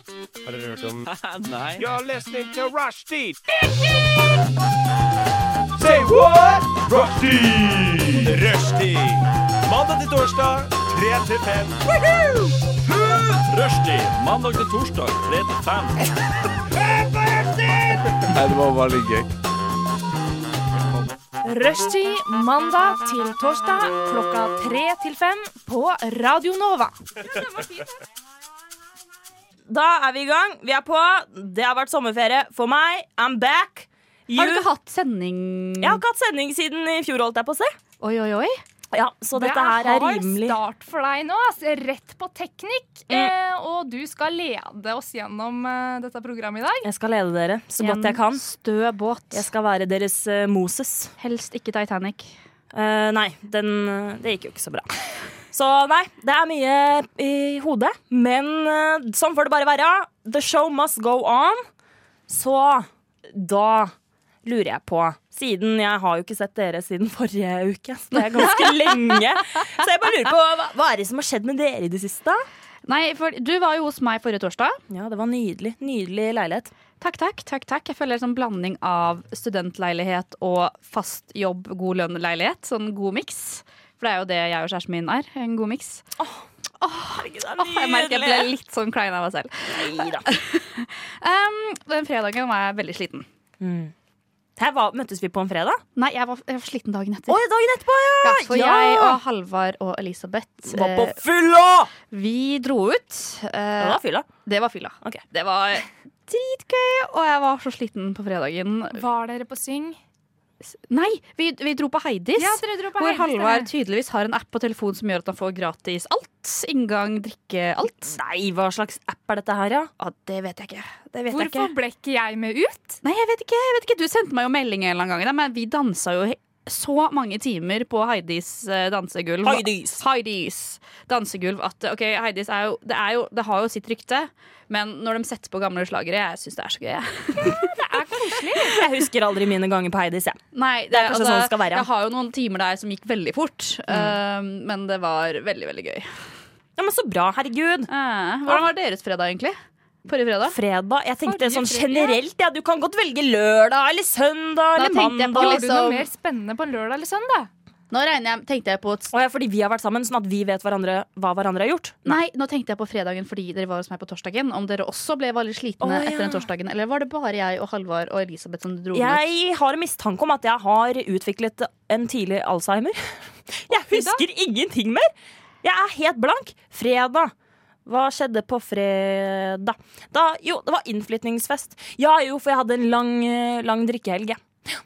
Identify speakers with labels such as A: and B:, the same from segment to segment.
A: Har dere hørt om
B: Nei.
A: You're listening to Rushdie! Say what? Rushdie! Rushdie! Mandag til torsdag, 3 til 5. Rushdie! Mandag til torsdag, 3 til 5.
B: Nei, det var bare litt gøy.
C: Rushtid mandag til torsdag klokka tre til fem på Radio Nova.
D: Da er vi i gang. Vi er på. Det har vært sommerferie for meg. I'm back.
E: Har du
D: Jul-
E: ikke hatt sending?
D: Jeg har ikke hatt sending siden i fjor, holdt jeg på å si.
E: Oi, oi, oi.
D: Ja, så dette her er rimelig.
F: Det er hard start for deg nå. ass. Rett på teknikk.
C: Mm.
F: Eh, og du skal lede oss gjennom eh, dette programmet i dag.
D: Jeg skal lede dere så godt jeg kan.
E: Stø båt.
D: Jeg skal være deres eh, Moses.
E: Helst ikke Titanic.
D: Eh, nei, den, eh, det gikk jo ikke så bra. Så nei, det er mye i hodet. Men eh, sånn får det bare være. The show must go on. Så da lurer jeg på Siden jeg har jo ikke sett dere siden forrige uke, så det er ganske lenge. Så jeg bare lurer på hva, hva er det som har skjedd med dere i det siste?
E: Nei, for du var jo hos meg forrige torsdag.
D: Ja, det var nydelig. Nydelig leilighet.
E: Takk, takk. takk, takk. Jeg føler det er en sånn blanding av studentleilighet og fast jobb, god lønn-leilighet. Sånn god miks. For det er jo det jeg og kjæresten min er. En god miks.
D: Herregud, det er
E: Åh, jeg merker jeg ble litt sånn klein av meg selv.
D: Neida.
E: Um, den fredagen var jeg veldig sliten.
D: Her var, møttes vi på en fredag.
E: Nei, jeg var, jeg var sliten dagen etter.
D: Oi, dagen etterpå, ja!
E: ja, for
D: ja.
E: jeg og Halvard og Elisabeth
D: Var på
E: eh,
D: fylla!
E: Vi dro ut.
D: Det
E: Eh,
D: var fylla.
E: det var fylla.
D: Ok.
E: Det var dritgøy, og jeg var så sliten på fredagen.
F: Var dere på syng?
E: Nei, vi, vi dro på Heidis.
F: Ja, dere dro på
E: Hvor
F: Heidis,
E: Halvard
F: dere.
E: tydeligvis har en app på telefonen som gjør at han får gratis alt. Inngang, drikke, alt.
D: Nei, hva slags app er dette her, ja?
E: Ja, det vet jeg ikke. Det vet jeg
F: Hvorfor
E: ikke.
F: ble ikke jeg med ut?
E: Nei, jeg vet ikke. jeg vet ikke. Du sendte meg jo melding en eller annen gang, da, men vi dansa jo he- så mange timer på Heidis eh, dansegulv.
D: Heidis.
E: Heidis dansegulv. At eh, ok, Heidis er jo, det, er jo, det har jo sitt rykte, men når de setter på gamle slagere, jeg syns det er så gøy. jeg.
D: Jeg husker aldri mine ganger på Heidis. Jeg.
E: Nei, det,
D: er kanskje sånn det skal være. Mm.
E: Jeg har jo noen timer der som gikk veldig fort, eh, men det var veldig, veldig gøy.
D: Ja, men Så bra, herregud.
E: Eh, hvordan var deres fredag, egentlig? Forrige fredag?
D: Fredag. Jeg tenkte
F: Forrige
D: sånn
F: fredag.
D: generelt. Ja, du kan godt velge lørdag eller søndag
E: Da
D: eller
E: tenkte jeg på
D: mandag.
F: Gjorde du noe
E: Liksom-
F: mer spennende på en lørdag eller søndag?
E: Nå regner jeg, tenkte jeg på et
D: Å ja, fordi vi har vært sammen, sånn at vi vet hverandre, hva hverandre har gjort.
E: Nei, nå tenkte jeg på fredagen fordi dere var hos meg på torsdagen. Om dere også ble veldig slitne
D: Å, ja.
E: etter den torsdagen, eller var det bare jeg og Halvard og Elisabeth som dro med?
D: Jeg har en mistanke om at jeg har utviklet en tidlig Alzheimer. Jeg husker ingenting mer! Jeg er helt blank. Fredag. Hva skjedde på fredag? Da, jo, det var innflytningsfest. Ja, jo, for jeg hadde en lang, eh, lang drikkehelg. jeg.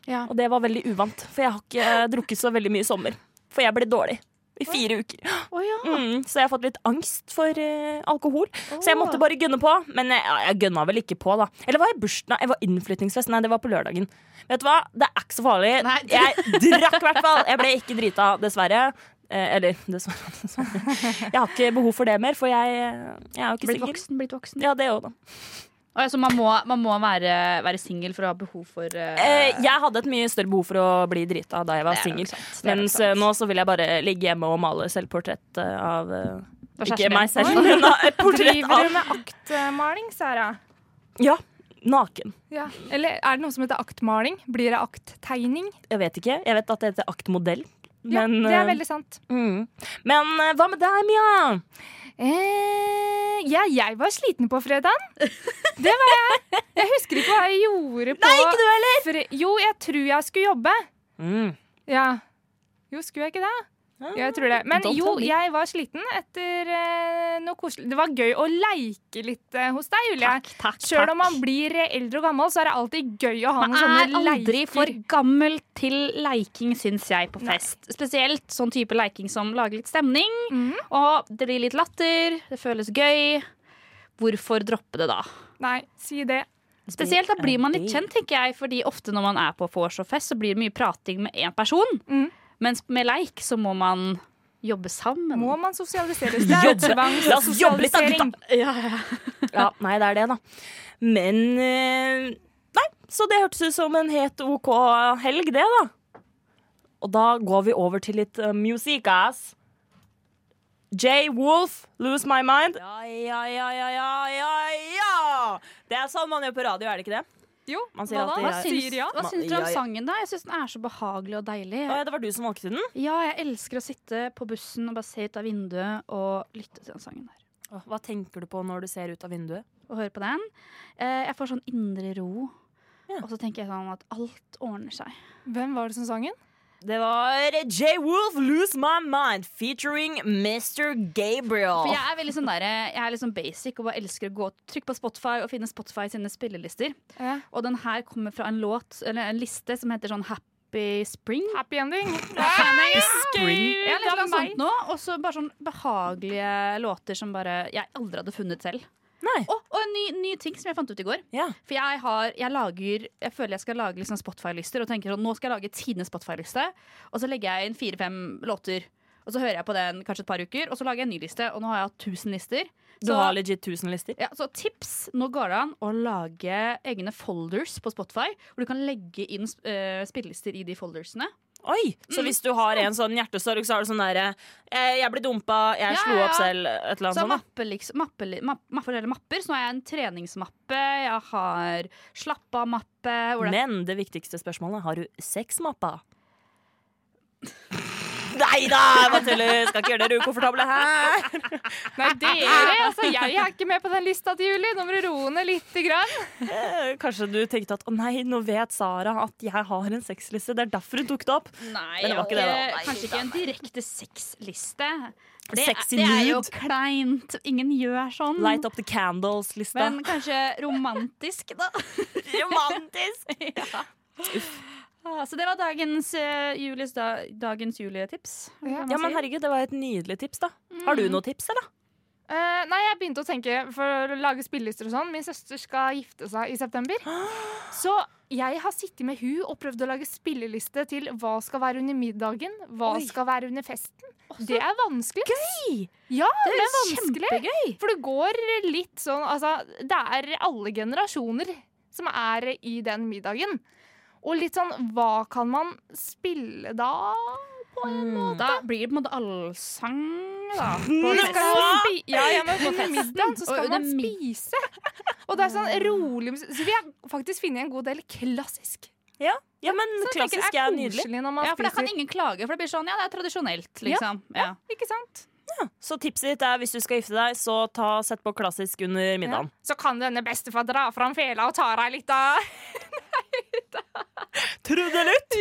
E: Ja.
D: Og det var veldig uvant, for jeg har ikke eh, drukket så veldig mye i sommer. For jeg ble dårlig i fire uker.
E: Å, ja.
D: Mm, så jeg har fått litt angst for eh, alkohol. Så jeg måtte bare gønne på. Men jeg, ja, jeg gønna vel ikke på, da. Eller var jeg bursdag? Jeg var innflyttingsfest. Nei, det var på lørdagen. Vet du hva? Det er ikke så farlig.
E: Nei.
D: Jeg drakk i hvert fall. Jeg ble ikke drita, dessverre. Eh, eller dessverre, dessverre. Jeg har ikke behov for det mer, for jeg, jeg er jo ikke
E: Blitt
D: singel.
E: voksen, blitt voksen.
D: Ja, det òg, da.
E: Å, ja, så man må, man må være, være singel for å ha behov for eh,
D: Eh, jeg hadde et mye større behov for å bli drita da jeg var
E: Det er nok
D: singel.
E: sant, det er nok
D: Mens
E: sant.
D: eh, nå så vil jeg bare ligge hjemme og male selvportrett eh, av eh,
E: Hva
D: Ikke
E: kjæresten
D: meg
E: din?
D: selv, men da- et portrett
F: Driver du
D: av
F: med aktmaling, Sara?
D: Ja, naken.
F: Ja. Eller er det noe som heter aktmaling? Blir det akttegning?
D: Jeg vet ikke. Jeg vet at det heter aktmodell.
F: Ja,
D: Men,
F: det
D: eh,
F: er veldig sant.
D: mm. men eh, hva med deg, Mia?
F: Eh, ja, jeg var sliten på fredagen. Det var jeg. Jeg husker ikke hva jeg gjorde på
D: Nei, ikke du heller!
F: fre- Jo, jeg tror jeg skulle jobbe.
D: Mm.
F: Ja. Jo, skulle jeg ikke det? Jo, jeg tror det. Men
D: Don't
F: jo,
D: tell me.
F: jeg var sliten etter eh, noe koselig. Det var gøy å leike litt eh, hos deg, Julie.
E: Takk, takk,
F: Sjøl
E: takk.
F: om man blir eh, eldre og gammel, så er det alltid gøy å ha
E: Man
F: noen
E: er
F: sånne
E: aldri
F: leiker.
E: for gammel til leiking, syns jeg, på fest. Spesielt sånn type leiking som lager litt stemning,
F: Mhm.
E: og det blir litt latter, det føles gøy. Hvorfor droppe det da?
F: Nei, si det.
E: Spesielt da
D: Altså, Det er
E: blir man litt
D: det.
E: kjent, tenker jeg, fordi ofte når man er på vors og fest, så blir det mye prating med én person.
F: Mm.
E: Mens med leik så må man jobbe sammen.
F: Må man sosialiseres? Det er
D: Jobbe.
F: tvang
D: La oss jobbe litt da,
F: sosialisering.
E: Ja, ja.
D: Ja, nei, det er det, da. Men eh, Nei, så det hørtes ut som en helt OK helg, det, da. Og da går vi over til litt uh, musikk, ass. J. Wolf, 'Lose My Mind'. Ja, ja, ja, ja, ja, ja, ja. Det er sånn man gjør på radio, er det ikke det?
F: Jo,
D: Man sier alltid
E: Hva
D: ja.
E: syns,
F: ja.
E: hva syns dere
D: Ja,
E: om
D: ja.
E: sangen, da? Jeg syns den er så behagelig og deilig.
D: Å, ja, Eh, det var du som valgte den?
E: Ja, jeg elsker å sitte på bussen og bare se ut av vinduet og lytte til den sangen der.
D: Å, Hva tenker du på når du ser ut av vinduet?
E: Og høre på den. Eh, Jeg får sånn indre ro.
D: Ja.
E: Og så tenker jeg sånn at alt ordner seg.
F: Hvem var det som sang den?
D: Det var J. Wolf, 'Lose My Mind', featuring Mr. Gabriel.
E: For jeg er veldig sånn der, jeg er litt sånn basic og bare elsker å gå trykke på Spotify og finne Spotify sine spillelister.
F: Ja.
E: Og den her kommer fra en låt, eller en liste som heter sånn Happy Spring.
F: Happy ending.
E: Jeg har litt
F: Det er
D: sånn
F: meg.
E: sånt nå, og så bare sånn behagelige låter som bare jeg aldri hadde funnet selv.
D: Nei.
E: Og, og en ny, ny ting som jeg fant ut i går.
D: Ja.
E: For jeg, har, jeg, lager, jeg føler jeg skal lage liksom Spotify-lister og tenker sånn, nå skal jeg lage tidenes Spotify-liste. Og så legger jeg inn fire-fem låter. Og så hører jeg på den kanskje et par uker, og så lager jeg en ny liste. Og nå har jeg hatt 1000 lister.
D: Du har legit 1000 lister.
E: Ja, så tips. Nå går det an å lage egne folders på Spotify. Hvor du kan legge inn uh, spillelister i de foldersene.
D: Oi, Så
E: Mm.
D: hvis du har en sånn hjertesorg, så har du sånn derre eh, 'Jeg ble dumpa, jeg
E: Ja,
D: slo
E: ja,
D: opp
E: ja.
D: selv', et eller annet
E: Så jeg
D: sånt. da.
E: mapper liksom, mapper, li- mapp, mapper, eller mapper. Så nå har jeg en treningsmappe, jeg har slapp av-mappe. hvor det er-
D: Men det viktigste spørsmålet har du sexmappa? Nei da, jeg bare tuller. Skal ikke gjøre dere ukomfortable her.
F: Nei, dere! Altså, jeg er ikke med på den lista til Julie. Nå må du roe ned lite grann.
D: Eh, Kanskje du tenkte at å nei, nå vet Sara at jeg har en sexliste. Det er derfor hun tok det opp.
E: Nei,
D: Men det var ikke det, da.
E: eh, Kanskje ikke en direkte sexliste. For det,
D: Sexy
E: er- det er jo
D: nude.
E: kleint. Ingen gjør sånn.
D: Light up the candles-lista.
E: Men kanskje romantisk, da.
D: Romantisk!
E: Ah, Så det var dagens eh, Julies da, dagens Julie-tips. eller hva man
D: Ja, men
E: sier.
D: herregud, det var et nydelig tips, da. Har du noe tips, eller?
F: Eh, nei, jeg begynte å tenke for å lage spillelister og sånn. Min søster skal gifte seg i september. Så jeg har sittet med hun og prøvd å lage spilleliste til hva skal være under middagen, hva
D: Oi.
F: skal være under festen. Det er vanskelig.
D: Gøy!
F: Ja, det er
E: høres
F: vanskelig.
E: Kjempegøy!
F: For det går litt sånn Altså, det er alle generasjoner som er i den middagen. Og litt sånn Hva kan man spille da?
E: Da blir det på en måte allsang, da.
F: Man
E: På
F: skal jo spi ja, ja, men på middagen så
E: Og
F: skal
E: under
F: man
E: mid-
F: spise. Og det er sånn rolig musikk. Så vi har faktisk funnet en god del klassisk.
D: Ja, ja men
F: Så jeg tenker
D: klassisk
F: det
D: er
F: koselig
D: nydelig.
F: Når man
E: Ja, for da kan
F: spiser.
E: ingen klage, for det blir sånn, ja, det er tradisjonelt, liksom. Ja.
F: Ikke sant?
D: Så tipset ditt er hvis du skal gifte deg, så ta, sett på klassisk under middagen.
F: Så kan denne bestefar dra fram fela og ta deg litt av
D: Trude Lutt!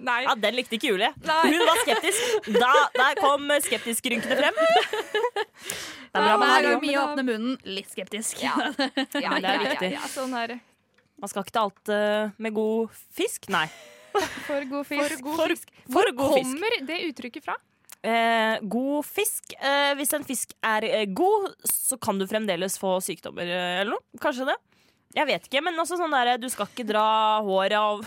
F: Nei.
D: Ja, den likte ikke Julie.
F: Nei.
D: Hun var skeptisk. Da, der kom skeptisk-rynkene frem. Det er bra man
E: Hver
D: har
E: gang
D: jobb.
E: mye åpner munnen, litt skeptisk.
F: Ja,
D: det er
F: ja,
D: viktig.
F: Ja, ja, sånn er det.
D: Man skal ikke ta alt eh, med god fisk. Nei,
F: For god fisk. For god
D: for, for god fisk.
F: Kommer det uttrykket fra?
D: Eh, god fisk. Eh, hvis en fisk er eh, god, så kan du fremdeles få sykdommer eh, eller noe. Kanskje det. Jeg vet ikke, men også sånn derre Du skal ikke dra håret av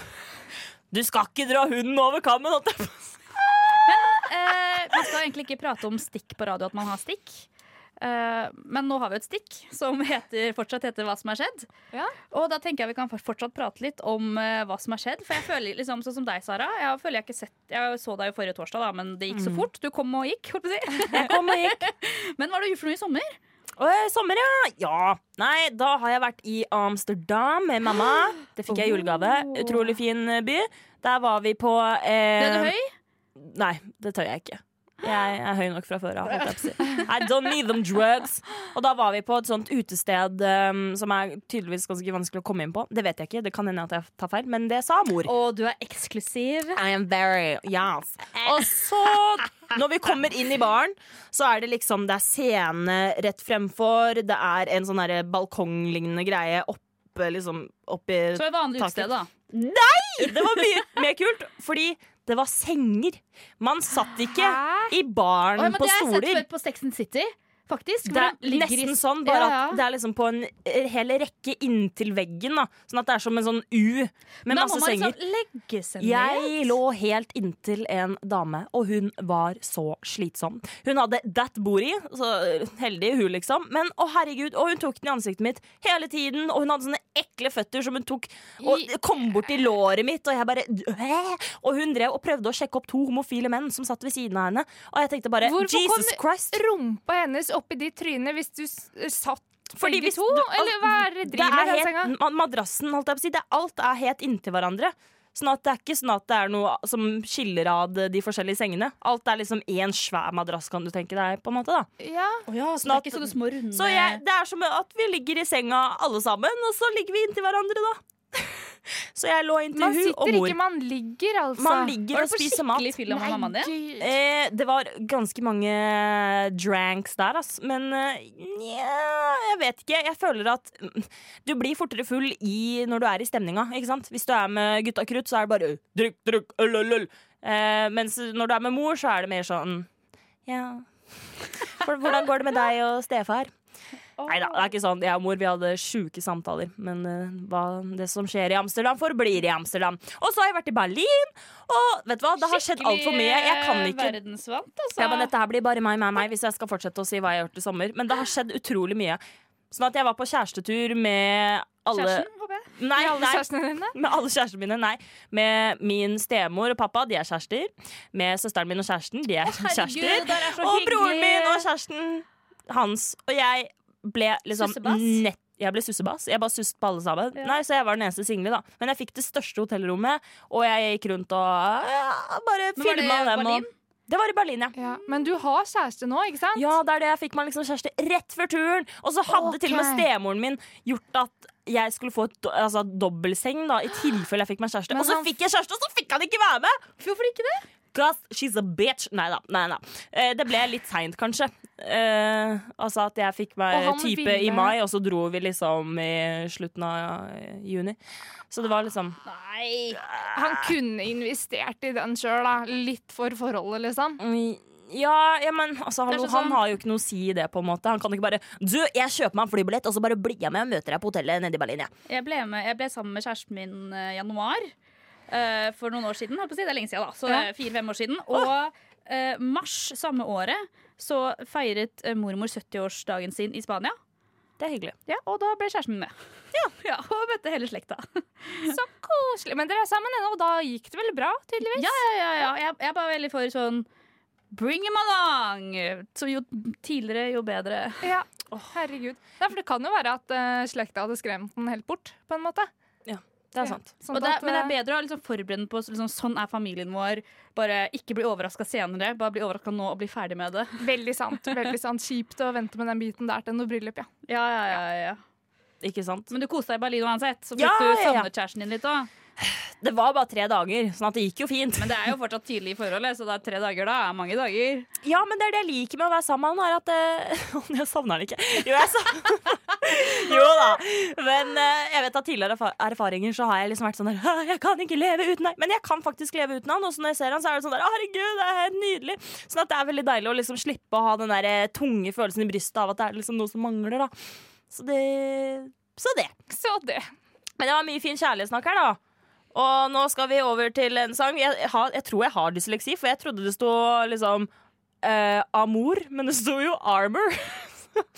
D: Du skal ikke dra hunden over kammen! holdt jeg på å si.
E: Eh, man skal egentlig ikke prate om stikk på radio, at man har stikk. Eh, men nå har vi et stikk som heter, fortsatt heter 'Hva som har skjedd'.
F: Ja.
E: Og da tenker jeg vi kan for- fortsatt prate litt om eh, hva som har skjedd. For jeg føler liksom sånn som deg, Sara. Jeg føler jeg ikke sett Jeg så deg jo forrige torsdag, da, men det gikk så fort. Du kom og gikk, holdt på å si.
D: Jeg kom og gikk.
E: Men hva har du gjort for noe i sommer?
D: Eh, sommer, ja. ja. Nei, da har jeg vært i Amsterdam med mamma. Det fikk jeg i julegave. Utrolig fin eh, by. Der var vi på eh,
E: Ble du høy?
D: Nei, det tør jeg ikke. Jeg er høy nok fra før av. holdt jeg på å si. I don't need them drugs. Og da var vi på et sånt utested um, som er tydeligvis ganske vanskelig å komme inn på. Det vet jeg ikke, det kan hende at jeg tar feil, men det sa mor.
E: Og du er eksklusiv.
D: Oh, I am very yes. Og så, når vi kommer inn i baren, så er det liksom Det er scene rett fremfor, det er en sånn derre balkonglignende greie oppe, liksom oppi
E: Så et vanlig
D: Takk.
E: utested, da.
D: Det var mye mer kult, fordi det var senger. Man satt ikke i
E: Oi,
D: baren
E: men
D: på
E: det har jeg sett
D: stoler.
E: før på Sex and City, faktisk.
D: Det
E: hvor de
D: er
E: ligger i-
D: nesten sånn, bare
E: Ja, ja.
D: at det er liksom på en eh, hel rekke inntil veggen. Da. Sånn at det er som en sånn U med
E: Da må
D: masse
E: man
D: senger.
E: liksom legge seg ned.
D: Jeg lå helt inntil en dame, og hun var så slitsom. Hun hadde that booty, så heldig hun, liksom. Men å herregud, og hun tok den i ansiktet mitt hele tiden, og hun hadde sånne ekle føtter som hun tok og kom bort i låret mitt, og jeg bare "Æ?" Og hun drev og prøvde å sjekke opp to homofile menn som satt ved siden av henne, og jeg tenkte bare
F: Hvorfor
D: Jesus
F: kom-
D: Christ!
F: Rumpa hennes oppi ditt tryne hvis du s- satt
D: Fordi
F: Begge
D: hvis
F: to?
D: du-
F: Eller hva er det
D: Det
F: driver
D: er
F: med den senga?
D: helt, ma- madrassen, holdt jeg på å si. Det, alt er helt inntil hverandre. Sånn at det er ikke sånn at det er noe som skiller ad de forskjellige sengene. Alt er liksom én svær madrass, kan du tenke deg. på en måte da Sånn
F: Ja.
E: så det er ikke sånne små runde
D: Så jeg, det er som at vi ligger i senga alle sammen, og så ligger vi inntil hverandre, da. Så jeg lå inntil
F: Man
D: hun og
F: sitter
D: mor.
F: ikke, man ligger, altså.
D: Man ligger
E: Var
D: og
E: du på
D: spiser mat.
E: skikkelig fyll av mammaen din?
F: Nei, gud.
D: Eh, det var ganske mange dranks der, ass. Men eh, nja, jeg vet ikke. Jeg føler at mm, du blir fortere full i, når du er i stemninga. Ikke sant? Hvis du er med gutta krutt, så er det bare «Øy, drikk, drikk, øl, øl, øl. Eh, mens når du er med mor, så er det mer sånn ja For, Hvordan går det med deg og stefar? Nei da, det er ikke sånn. Jeg og mor vi hadde sjuke samtaler. Men eh, hva, det som skjer i Amsterdam, forblir i Amsterdam. Og så har jeg vært i Berlin, og vet du hva, det har skjedd altfor mye. Jeg kan
E: Skikkelig, eh,
D: ikke
E: verdensvant, altså.
D: ja, men dette her blir bare meg, meg, meg hvis jeg skal fortsette å si hva jeg har gjort i sommer. Men det har skjedd utrolig mye. Sånn at jeg var på kjærestetur med alle
E: Kjæresten, håper jeg.
D: Nei,
F: Med alle
D: nei.
F: kjærestene dine?
D: Med alle kjærestene mine, nei. Med min stemor og pappa, de er kjærester. Med søsteren min og kjæresten, de er kjærester.
E: det er så
D: Og broren
E: hyggelig.
D: min og kjæresten hans. Og jeg ble liksom
E: Sussebass?
D: nett jeg ble sussebass. Jeg bare susset på alle sammen.
E: Ja.
D: Nei, Så jeg var den eneste single, da. Men jeg fikk det største hotellrommet, og jeg gikk rundt og ja, bare
E: Men var det
D: filma
E: i
D: dem.
E: Berlin?
D: Og... Det var i Berlin, ja.
F: Ja. Men du har kjæreste nå, ikke sant?
D: Ja, det er det. Jeg fikk meg liksom kjæreste rett før turen. Og så hadde til og med
F: Ok.
D: stemoren min gjort at jeg skulle få et, do- altså, dobbeltseng da, i tilfelle jeg fikk meg kjæreste.
F: Men
D: Og så
F: han-
D: fikk jeg kjæreste, og så fikk han ikke være med!
E: Hvorfor ikke det?
D: Cause she's a bitch. Nei da. Nei, da. Eh, det ble litt seint, kanskje. Eh, altså at jeg fikk
F: Og
D: meg
F: han
D: type
F: ville-
D: i mai, og så dro vi liksom i slutten av ja, juni. Så det var liksom
E: Nei.
F: Han kunne investert i den sjøl, da. Litt for forholdet, liksom.
D: mm, ja, ja, men altså, hallo,
E: sånn-
D: han har jo ikke noe å si i det, på en måte. Han kan ikke bare Du, jeg kjøper meg en flybillett, og så bare blir jeg med og møter deg på hotellet nede i Berlin, jeg.
E: Jeg ble, med, jeg ble sammen med kjæresten min eh, i januar eh, for noen år siden. holdt på å si. Det er lenge siden, da. Så
F: Ja.
E: fire-fem år siden. Og eh, mars samme året så feiret eh, mormor 70-årsdagen sin i Spania.
D: Det er hyggelig.
E: Ja, og da ble kjæresten min med. Ja, Og møtte hele slekta.
F: Så koselig. Men dere er sammen ennå, og da gikk det vel bra, tydeligvis?
E: Ja, ja, ja, ja. Jeg, jeg er bare veldig for sånn Bring him along! Så jo tidligere, jo bedre.
F: Ja. Herregud. Nei, for det kan jo være at eh, slekta hadde skremt den helt bort, på en måte.
D: Det er
F: Ja.
D: sant.
F: Sånn
E: og det,
F: at,
E: men det er
F: eh,
E: bedre å liksom forberede den på liksom, sånn er familien vår. Bare ikke bli overraska senere. Bare bli overraska nå og bli ferdig med det.
F: Veldig sant. veldig sant Kjipt å vente med den biten der til noe bryllup, ja.
E: Ja, ja, ja, ja.
D: Ikke sant?
E: Men du koste deg i Berlin uansett, så fikk
D: Ja,
E: du
D: ja, ja.
E: savnet kjæresten din litt òg.
D: Det var bare tre dager, sånn at det gikk jo fint.
E: Men det er jo fortsatt tidlig i forholdet, så det er tre dager da. er Mange dager.
D: Ja, men det er det jeg liker med å være sammen med han, er at eh, Å, jeg savner han ikke. Jo, jeg savner Jo da. Men eh, jeg vet at tidligere erfa- erfaringer så har jeg liksom vært sånn der «Hæ, Jeg kan ikke leve uten deg. Men jeg kan faktisk leve uten han, og så når jeg ser han, så er det sånn der «Å, Herregud, det er helt nydelig. Sånn at det er veldig deilig å liksom slippe å ha den der eh, tunge følelsen i brystet av at det er liksom noe som mangler, da. Så det Så det.
F: Så det.
D: Men det var mye fin kjærlighetssnakk her, da. Og nå skal vi over til en sang. Jeg, jeg, har, jeg tror jeg har dysleksi, for jeg trodde det sto liksom eh, Amor, men det sto jo Armor.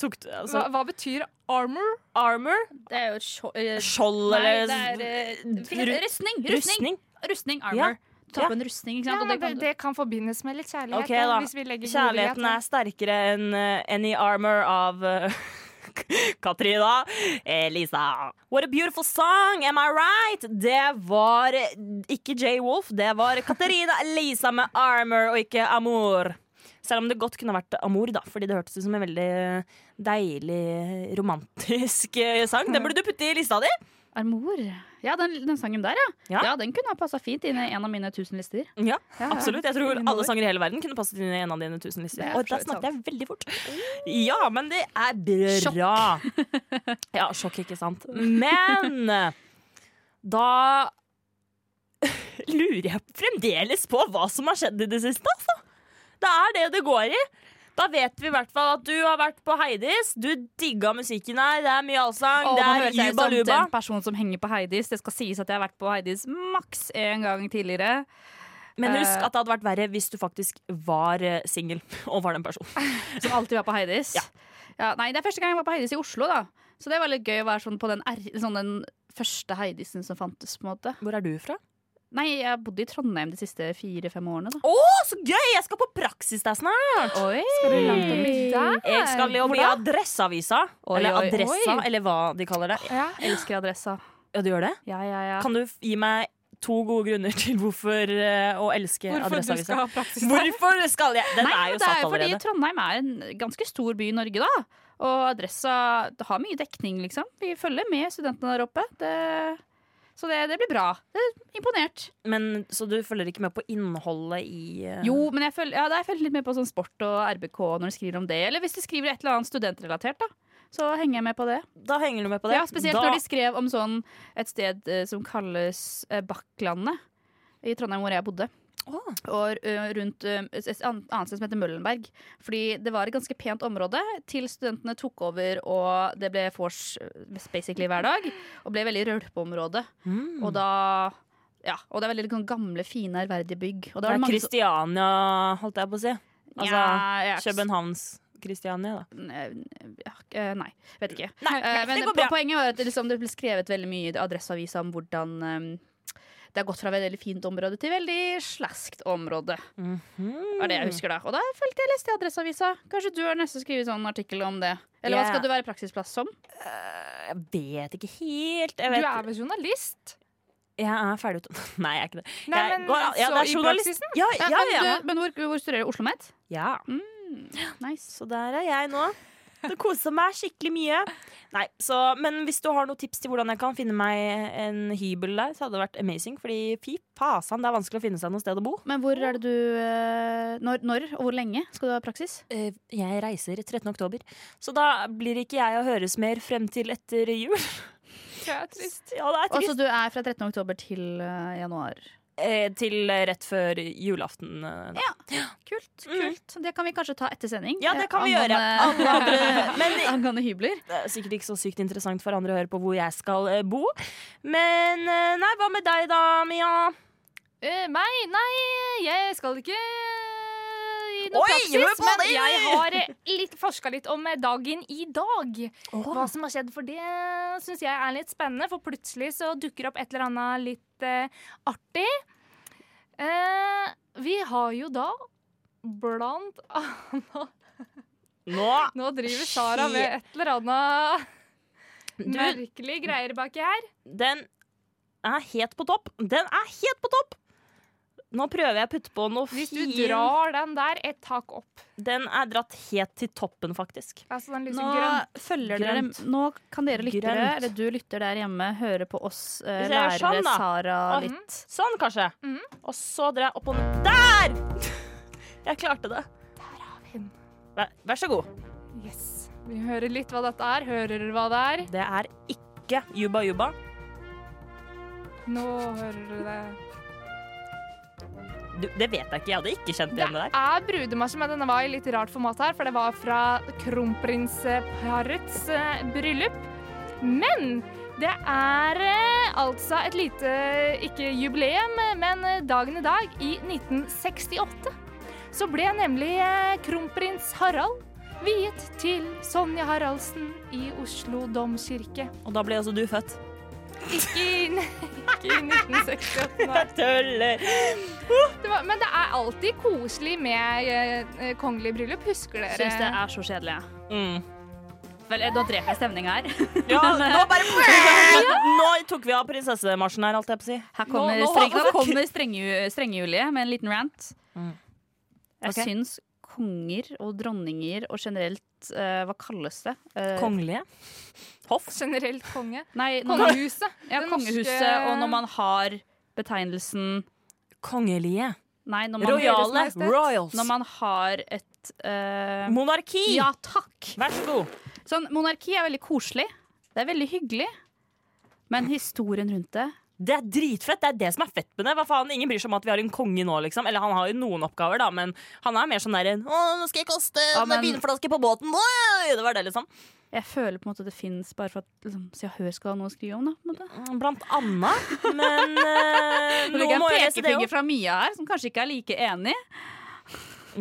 D: Tok du altså,
F: Hva, hva betyr armor?
D: Armor?
E: Det er jo sjo- eh,
D: Skjold
E: Nei,
D: eller
E: det er eh,
D: ru-
E: rustning! Rustning,
D: rustning?
E: rustning armor. Du tar
D: Ja.
E: på en rustning, ikke
F: Ja,
E: sant. og
F: men
E: det
F: det,
E: kan du...
F: det kan forbindes med litt kjærlighet.
D: Ok,
F: da,
D: da.
F: Hvis vi legger god vilje
D: Kjærligheten
F: til-
D: er sterkere enn eh, Any Armor av eh, Katrina Elisa. What a beautiful song, am I right? Det var eh, ikke Jay Wolf, det var Katrina Elisa med Armor og ikke Amor. Selv om det godt kunne vært Amor, da, fordi det hørtes ut som en veldig deilig, romantisk eh, sang. Den burde du putte i lista di.
E: Armor. Ja, den, den sangen der, ja.
D: Ja.
E: ja. den kunne ha passa fint inn i en av mine tusen lister.
D: Ja,
F: Ja, ja.
D: absolutt. Jeg tror
F: Ingen
D: alle
F: ord.
D: sanger i hele verden kunne passet inn i en av dine tusen lister.
E: Det er
D: Og da
E: for så vidt Oh.
D: snakket jeg veldig fort. Ja, men det er bra. Ja, sjokk, ikke sant. Men eh, da lurer jeg fremdeles på hva som har skjedd i det siste, altså. Det er det det går i. Da vet vi i hvert fall at du har vært på Heidis. Du digga musikken her. Det er mye allsang.
E: Og nå
D: det er
E: høres jeg sånn ut som
D: jubaluba.
E: den personen som henger på Heidis. Det skal sies at jeg har vært på Heidis maks én gang tidligere. eh,
D: Men husk at det hadde vært verre hvis du faktisk var singel og var den personen.
E: Som alltid var på Heidis.
D: Ja.
E: Ja. nei, det er første gang jeg var på Heidis i Oslo, da. Så det var litt gøy å være sånn på den, R, sånn den første Heidisen som fantes, på en måte.
D: Hvor er du fra?
E: Nei, jeg har bodd i Trondheim de siste fire-fem årene. Da.
D: Å, så gøy! Jeg skal på praksis der snart.
E: Oi.
F: Skal du langt opp i der?
D: Jeg skal jobbe i Adresseavisa.
E: Oi,
D: Eller
E: oi,
D: Adressa,
F: oi.
D: eller hva de kaller det.
F: Ja.
E: Elsker adressa.
D: Ja, du gjør det?
E: Ja, ja, ja.
D: Kan du f- gi meg to gode grunner til hvorfor eh, å elske
F: Hvorfor du skal
D: Adresseavisa?
F: ha praksis der?
D: Hvorfor skal jeg? Den
E: Nei,
D: er
E: men
D: jo
E: det er
D: satt
E: jo fordi
D: allerede.
E: Trondheim er en ganske stor by i Norge, da. Og adressa det har mye dekning, liksom. Vi følger med studentene der oppe. Det, så det, det blir bra. Det er imponert.
D: Men, så du følger ikke med på innholdet i eh,
E: Jo, men jeg følger, ja, da har jeg følger litt med på sånn sport og RBK når de skriver om det. Eller hvis de skriver et eller annet studentrelatert, da. Så henger jeg med på det.
D: Da henger du med på det.
E: Ja, Spesielt
D: da,
E: når de skrev om sånn et sted eh, som kalles eh, Bakklandet. I Trondheim, hvor jeg bodde.
D: Å,
E: Og eh, rundt eh, et et ann- annet sted som heter Møllenberg. Fordi det var et ganske pent område til studentene tok over, og det ble vors eh, basically hver dag. Og ble veldig rølpeområde.
D: mm.
E: Og da ja, og det er veldig sånn gamle, fine, ærverdige bygg. Og
D: Det
E: da var
D: er
E: det mange som-
D: Kristiania, holdt jeg på å si. Altså,
E: Nja, jeg er ikke-
D: Københavns Kristiania, da.
E: Ja, eh, Nei, vet ikke.
D: Nei,
E: Eh,
D: det
E: men
D: går
E: po-
D: bra.
E: poenget var at det, liksom, det ble skrevet veldig mye i Adresseavisa om hvordan eh, det har gått fra veldig fint område til veldig slaskt område.
D: Mhm.
E: Var det jeg husker da. Og da følte jeg leste i Adresseavisa. Kanskje du har nesten skrevet sånn artikkel om det. Eller
D: Ja.
E: hva skal du være praksisplass som?
D: Jeg vet ikke helt. Jeg,
F: Du
D: vet,
F: er vel journalist?
D: jeg er ferdig ut... Nei, jeg er ikke det.
F: Nei,
D: jeg,
F: men
D: går, ja,
F: så
D: det er
F: i
D: journalist.
F: praksisen?
D: Ja, ja,
E: men
D: ja, ja.
E: Du, men hvor, hvor studerer du? Oslo Met?
D: ja.
E: Nice.
D: Så der er jeg nå. Det koser meg skikkelig mye. Nei, så, men hvis du har noen tips til hvordan jeg kan finne meg en hybel der, så hadde det vært amazing. Fordi fy fasan, det er vanskelig å finne seg noe sted å bo.
E: Men hvor er det du eh, når, når og hvor lenge skal du ha praksis?
D: Eh, Jeg reiser 13. oktober, så da blir ikke jeg å høres mer frem til etter jul.
F: Det er trist.
D: Ja, det er
E: Og så
D: trist.
E: du er fra 13. oktober til eh, januar.
D: Eh, Til eh, rett før julaften. eh, da.
E: Kult. kult. Mm. Det kan vi kanskje ta etter sending.
D: Ja, det kan vi
E: Eh,
D: gjøre. Alle andre-
E: angående, angående hybler.
D: Det er sikkert ikke så sykt interessant for andre å høre på hvor jeg skal eh, bo. Men eh, nei, hva med deg da, Mia?
F: Eh, meg? Nei, jeg skal ikke eh, i noen
D: Oi, hør på
F: praksis. Men
D: det!
F: jeg har eh, litt, forska litt om eh, dagen i dag. Hva
D: Åh,
F: som har skjedd. For det syns jeg er litt spennende, for plutselig så dukker opp et eller annet litt eh, artig. Eh, vi har jo da blant annet
D: Nå!
F: Nå driver Sara med et eller annet
D: Du,
F: merkelige greier baki her.
D: den er helt på topp. Den er helt på topp! Nå prøver jeg å putte på noe
F: Hvis du
D: fin
F: drar den der et tak opp.
D: Den er dratt helt til toppen, faktisk.
F: Altså den lyser
E: Nå,
F: grønn.
E: følger dere,
D: Grønt.
E: nå kan dere lyttere,
D: Grønt.
E: eller du lytter der hjemme, høre på oss eh,
D: Hvis jeg gjør
E: lærere
D: sånn, da.
E: Sara
D: Ah,
E: litt.
D: Sånn, kanskje.
F: Mhm.
D: Og så drar jeg opp og ned. Der! Jeg klarte det.
F: den.
D: Vær, vær så god.
F: Yes. Vi hører litt hva dette er. Hører dere hva det er?
D: Det er ikke Juba Juba.
F: Nå hører du det.
D: Du, det vet jeg ikke. Jeg hadde ikke kjent
F: Det
D: igjen det der.
F: er brudemarsj, men denne var i litt rart format her, for det var fra kronprinsparets eh, bryllup. Men det er eh, altså et lite, ikke jubileum, eh, men eh, dagen i dag i 1968. Så ble nemlig eh, kronprins Harald viet til Sonja Haraldsen i Oslo domkirke.
D: Og da ble også du født.
F: Ikke i, ikke i 1968, nei.
D: Jeg tøller!
F: Det var, men det er alltid koselig med eh, kongelig bryllup, husker dere?
E: Syns det er så kjedelig. jeg.
D: Mm.
E: Vel, eh, nå dreper jeg stemninga her.
D: Ja,
E: eh,
D: nå bare Nå tok vi av prinsessemarsjen her, holdt jeg på å si.
E: Her kommer,
F: Nå- nå-
E: streng,
F: hvorfor-
E: nå kommer strenge, Strenge-Julie med en liten rant.
D: Mm.
E: Jeg
D: Ok.
E: syns konger og dronninger og generelt eh, Hva kalles det? Eh,
D: Kongelige. Hoff.
F: Generelt konge.
E: Nei, når man,
F: Kongehuset.
E: ja,
F: Det norske-
E: kongehuset, og når man har betegnelsen
D: Kongelige.
E: Nei, når man,
D: Royale.
F: Deres Majestet.
D: Royals.
E: når man har et eh,
D: Monarki.
E: Ja, takk!
D: Vær så god.
E: Sånn, monarki er veldig koselig. Det er veldig hyggelig. Men historien rundt det
D: Det er dritfett. Det er det som er fett med det. Hva faen, Ingen bryr seg om at vi har en konge nå, liksom. Eller han har jo noen oppgaver, da, men han er mer sånn derre Å, nå skal jeg kaste
E: Ja,
D: en
E: men-
D: vinflaske på båten. Oi! Det var det, liksom.
E: Jeg føler på en måte det fins bare for at liksom, Se og Hør skal ha noe å skrive om. Da, på en måte.
D: Mm, Blant annet. Men eh,
E: Nå
D: noe må
E: en
D: gjøres i det
E: pekefinger
D: òg.
E: fra Mia her, som kanskje ikke er like enig.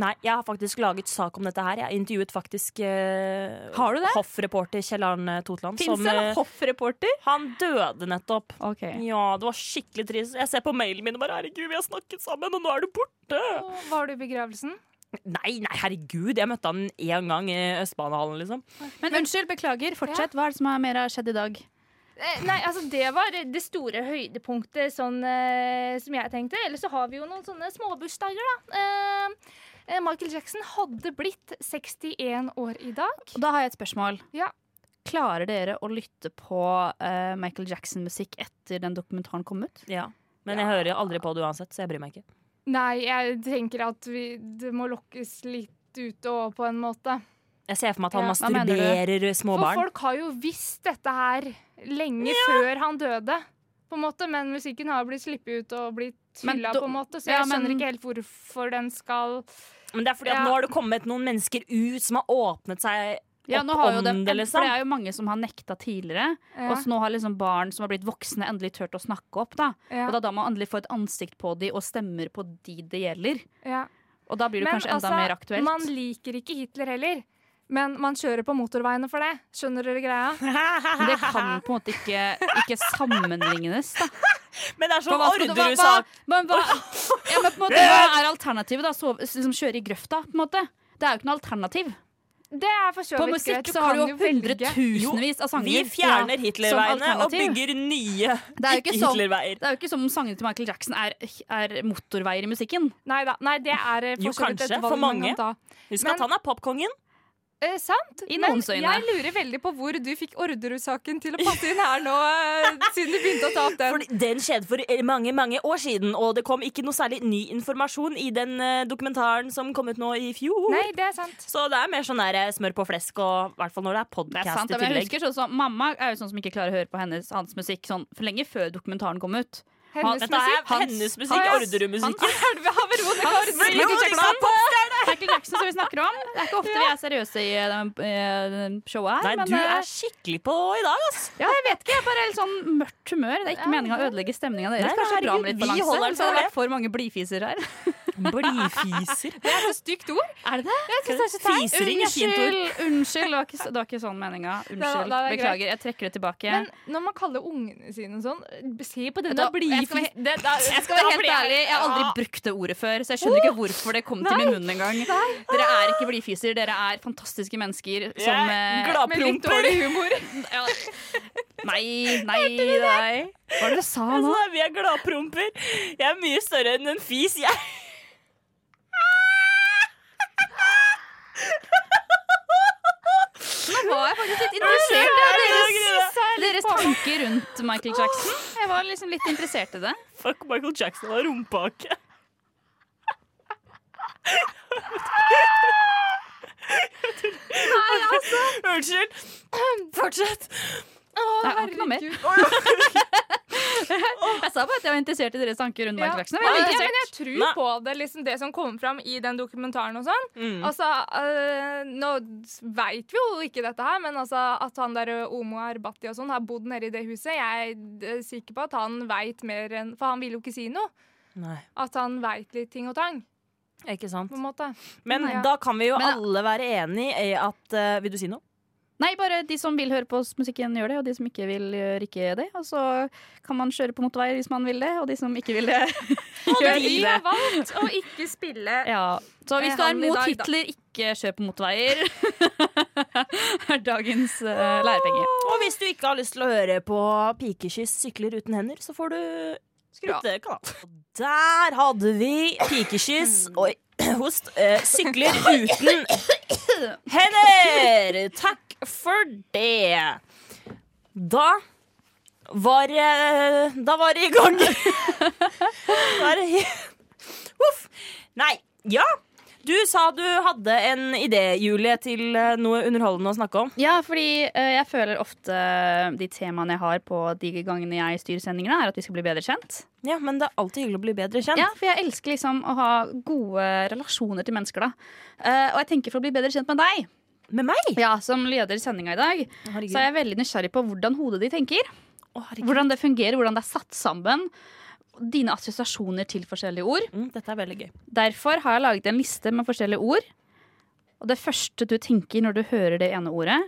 D: Nei, jeg har faktisk laget sak om dette her. Jeg intervjuet faktisk eh,
E: Har du det?
D: hoffreporter Kjell Arne Totland.
E: Fins
D: som,
E: det en
D: eh,
E: hoffreporter?
D: han døde nettopp.
E: Ok.
D: Ja, det var skikkelig trist. Jeg ser på mailen min og bare 'herregud, vi har snakket sammen, og nå er du borte'.
F: Og Var du i begravelsen?
D: Nei, nei, herregud, jeg møtte han én gang i Østbanehallen, liksom.
E: Men unnskyld, beklager. Fortsett. Hva er det som er mer har skjedd i dag?
B: Eh, Nei, altså Det var det store høydepunktet sånn, eh, som jeg tenkte. Eller så har vi jo noen sånne småbursdager, da. Eh, eh,
F: Michael Jackson hadde blitt 61 år i dag.
E: Og da har jeg et spørsmål.
F: Ja.
E: Klarer dere å lytte på eh, Michael Jackson-musikk etter den dokumentaren kom ut?
D: Ja. Men jeg hører aldri på det uansett, så jeg bryr meg ikke.
F: Nei, jeg tenker at vi, det må lokkes litt ut og på en måte.
D: Jeg ser for meg at han
E: Ja, hva mener du?
D: masturberer små
F: For
D: barn.
F: folk har jo visst dette her lenge før han døde, på en måte. Men musikken har blitt slippet ut og blitt
E: Men
F: hylla,
E: da-
F: på en måte. Så
E: ja,
F: jeg skjønner
E: men-
F: ikke helt hvorfor den skal
D: Men det er fordi at nå
F: Ja.
D: har det kommet noen mennesker ut som har åpnet seg
E: Ja,
D: opp
E: nå har jo
D: om
E: dem,
D: det,
E: For
D: liksom.
E: det er jo mange som har nekta tidligere.
F: ja,
E: Og så nå har liksom barn som har blitt voksne, endelig turt å snakke opp. da
F: ja,
E: Og da, da må man endelig få et ansikt på de og stemmer på de det gjelder.
F: ja. altså,
E: Og da blir det kanskje enda mer aktuelt.
F: man liker ikke Hitler heller. Men man kjører på motorveiene for det. Skjønner dere greia?
E: Men det kan på en måte ikke, ikke sammenlignes. Da.
D: Men det er sånn
E: skal du- hva,
D: Orderud-sak.
E: men hva, ja, men på en måte, hva er alternativet? da? Sove, liksom kjøre i grøfta? på en måte Det er jo ikke noe alternativ.
F: Det er for så
E: På
F: vidt greit.
E: musikk så har du jo
F: kan velge.
E: hundretusenvis av sanger.
D: Vi fjerner Hitlerveiene og
E: alternativ.
D: bygger nye
E: Det er jo ikke sånn
D: ikke-Hitlerveier.
E: det er jo ikke som om sangene til Michael Jackson er, er motorveier i musikken.
F: Nei da. Nei, det er eh,
D: Jo,
F: for så vidt
D: kanskje,
F: et
D: for
F: valg man
D: mange.
F: kan ta.
D: Husk
F: Men-
D: at han er popkongen.
F: Eh, sant?
E: I
F: Men
E: noens øyne.
F: jeg lurer veldig på hvor du fikk Orderud-saken til å passe inn her nå, eh, siden du begynte å ta opp den.
D: Fordi Den skjedde for eh, mange mange år siden, og det kom ikke noe særlig ny informasjon i den eh, dokumentaren som kom ut nå i fjor.
F: Nei, det er sant.
D: Så det er mer sånn der eh, smør på flesk, og i hvert fall når det er
E: Det er
D: podkast
E: sant,
D: i
E: da, men jeg
D: tillegg.
E: husker sånn som Mamma er jo sånn som ikke klarer å høre på hennes, hans musikk sånn, for lenge før dokumentaren kom ut.
F: Hennes
D: Dette er
F: musikk.
D: hennes musikk,
E: Hans-
D: Orderud-musikk.
E: Hans,
D: Blir jo
E: Michael
D: liksom
E: Jackson,
D: popstjerne!
E: Michael Jackson som vi snakker om. Det er ikke ofte vi er seriøse i eh, den- eh, den showet her.
D: Nei,
E: men
D: du
E: eh,
D: er skikkelig på i dag, ass.
E: ja, jeg vet ikke, jeg er bare helt sånn mørkt humør. Det er ikke meninga å ødelegge stemninga
D: Nei,
E: deres.
D: nei,
E: Kanskje bra
D: herregud,
E: med litt
D: vi
E: balanse.
D: holder den
E: Så det har
D: på det.
E: vært for mange blidfiser her.
D: Blidfiser.
F: Det er så stygt ord.
E: Er det det?
D: Fisering er fint ord.
E: Unnskyld, unnskyld. Det var ikke, det var ikke sånn meninga. Unnskyld.
F: da er det greit.
E: Beklager. Jeg trekker det tilbake.
F: Men når man kaller ungene sine sånn, se på
E: Da- jeg
F: denne
E: skal være-
F: blidfisen.
E: det- da- jeg skal være helt ærlig, jeg har aldri brukt det ordet før, så jeg skjønner ikke hvorfor det kom til min munn engang. Dere er ikke blidfiser, dere er fantastiske mennesker som eh,
D: Gladpromper.
E: ja. Nei, nei, nei. Hva var det du sa
D: Jeg
E: nå?
D: sa Altså, vi er gladpromper. Jeg er mye større enn en fis, jeg.
E: Nå var jeg faktisk litt interessert i deres, deres tanker rundt Michael Jackson. Jeg var liksom litt interessert i det.
D: Fuck, Michael Jackson har rumpehake.
E: altså.
D: Unnskyld. Fortsett.
E: Nei, jeg har ikke noe mer. Jeg sa bare at jeg var interessert i deres tanker rundt Michael Jackson. Jeg var
F: Ja,
E: veldig
F: ja,
E: interessert.
F: men jeg tror
D: Nei.
F: på det, liksom, det som kommer fram i den dokumentaren og sånn.
D: Mm.
F: Altså, øh, nå veit vi jo ikke dette her, men altså, at han der øh, Omo Arbati og sånn har bodd nede i det huset, jeg er øh, sikker på at han veit mer enn For han vil jo ikke si noe.
D: Nei,
F: At han veit litt ting og tang,
D: ikke sant.
F: på en måte.
D: Men
F: Ja.
D: da kan vi jo
E: Men-
D: alle være enig i at eh, Vil du si noe?
E: Nei, bare de som vil høre på s- musikken, gjør det. Og de som ikke vil, gjør ikke det. Og så kan man kjøre på motorveier hvis man vil det, og de som ikke vil det, gjør
F: Vi
E: ikke
F: har
E: det.
F: valgt å ikke spille
E: Ja. Så hvis
F: Eh,
E: du er
F: han i
E: mot
F: dag, da.
E: Hitler, ikke kjør på motorveier. er dagens uh, lærepenge.
D: Og hvis du ikke har lyst til å høre på pikekyss sykler uten hender, så får du skrutte kanal. Og Der hadde vi pikekyss Oi, host. eh, sykler uten hender! Takk for det. Da var eh, Da var det i gang. Da er det he- Uff. Nei. Ja. Du sa du hadde en idé, Julie, til eh, noe underholdende å snakke om.
E: Ja, fordi eh, jeg føler ofte de temaene jeg har på de gangene jeg styrer sendingene, er at vi skal bli bedre kjent.
D: Ja, men det er alltid hyggelig å bli bedre kjent.
E: Ja, for jeg elsker liksom å ha gode relasjoner til mennesker, da. Eh, og jeg tenker for å bli bedre kjent med deg,
D: Med meg?
E: ja, som leder sendinga i dag, Så er jeg veldig nysgjerrig på hvordan hodet de tenker.
D: Å, herregud.
E: Hvordan det fungerer, hvordan det er satt sammen. dine assosiasjoner til forskjellige ord.
D: Mm, dette er veldig gøy.
E: Derfor har jeg laget en liste med forskjellige ord. Og det første du tenker når du hører det ene ordet,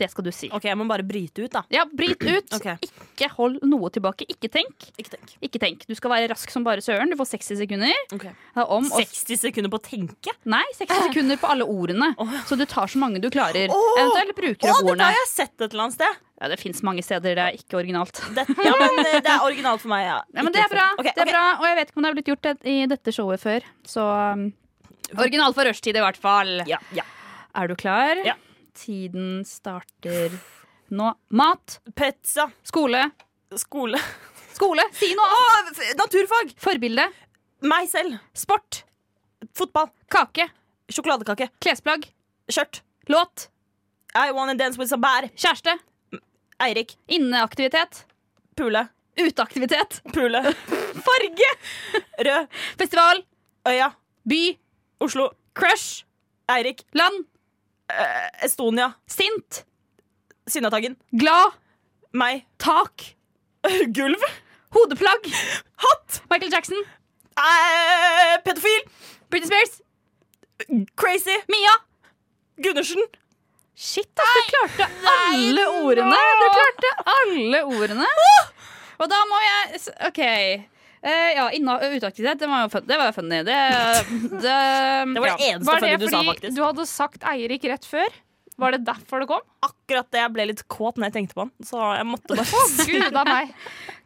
E: det skal du si.
D: Ok, Jeg må bare bryte ut, da.
E: Ja, bryt ut.
D: Ok.
E: Ikke hold noe tilbake. Ikke tenk.
D: Ikke tenk.
E: Ikke tenk. Du skal være rask som bare søren. Du får 60 sekunder. Det er Om Mm, og
D: 60 sekunder på å tenke?
E: Nei, 60 sekunder på alle ordene. Så du tar så mange du klarer.
D: Åh!
E: Eventuelt bruker
D: Å,
E: opp
D: dette
E: ordene.
D: har jeg sett et eller annet sted!
E: Ja, det fins mange steder det er ikke originalt.
D: Dette, ja, men eh, Det er originalt for meg. Ja.
E: Ja, men det er bra.
D: Ok,
E: det er
D: ok.
E: bra. Og jeg vet ikke om det er blitt gjort det- i dette showet før. Så um, original for rushtid, i hvert fall.
D: Ja, ja.
E: Er du klar?
D: Ja.
E: Tiden starter nå. Mat,
D: Pizza,
E: skole,
D: skole
E: skole, si noe annet!
D: Å, f- Naturfag!
E: Forbilde,
D: Meg selv.
E: sport,
D: Fotball.
E: kake,
D: Sjokoladekake.
E: klesplagg,
D: Skjørt.
E: låt,
D: I wanna dance with some bær.
E: kjæreste,
D: Eirik.
E: inneaktivitet,
D: Pule.
E: uteaktivitet,
D: Pule.
E: farge,
D: Rød.
E: festival,
D: Øya.
E: by,
D: Oslo.
E: crush,
D: Eirik.
E: land,
D: Eh, Estonia.
E: sint,
D: Sinnataggen.
E: glad,
D: Meg.
E: tak,
D: Gulv.
E: hodeplagg,
D: Hatt.
E: Michael Jackson,
D: Eh, pedofil.
E: Britney Spears,
D: Crazy.
E: Mia.
D: Gundersen.
E: Shit, ass, du klarte alle ordene! Du klarte alle ordene. Og da må jeg s- OK. Eh, ja, inna- uteaktivitet, det var jo fun, det var jo funny. Det, det,
D: Det var
E: ja.
D: det eneste
F: Var det
D: funny du sa,
F: fordi
D: faktisk.
F: du hadde sagt Eirik rett før? Var det derfor det kom?
D: Akkurat det jeg ble litt kåt når jeg tenkte på den. Så jeg måtte bare
F: Gud av meg.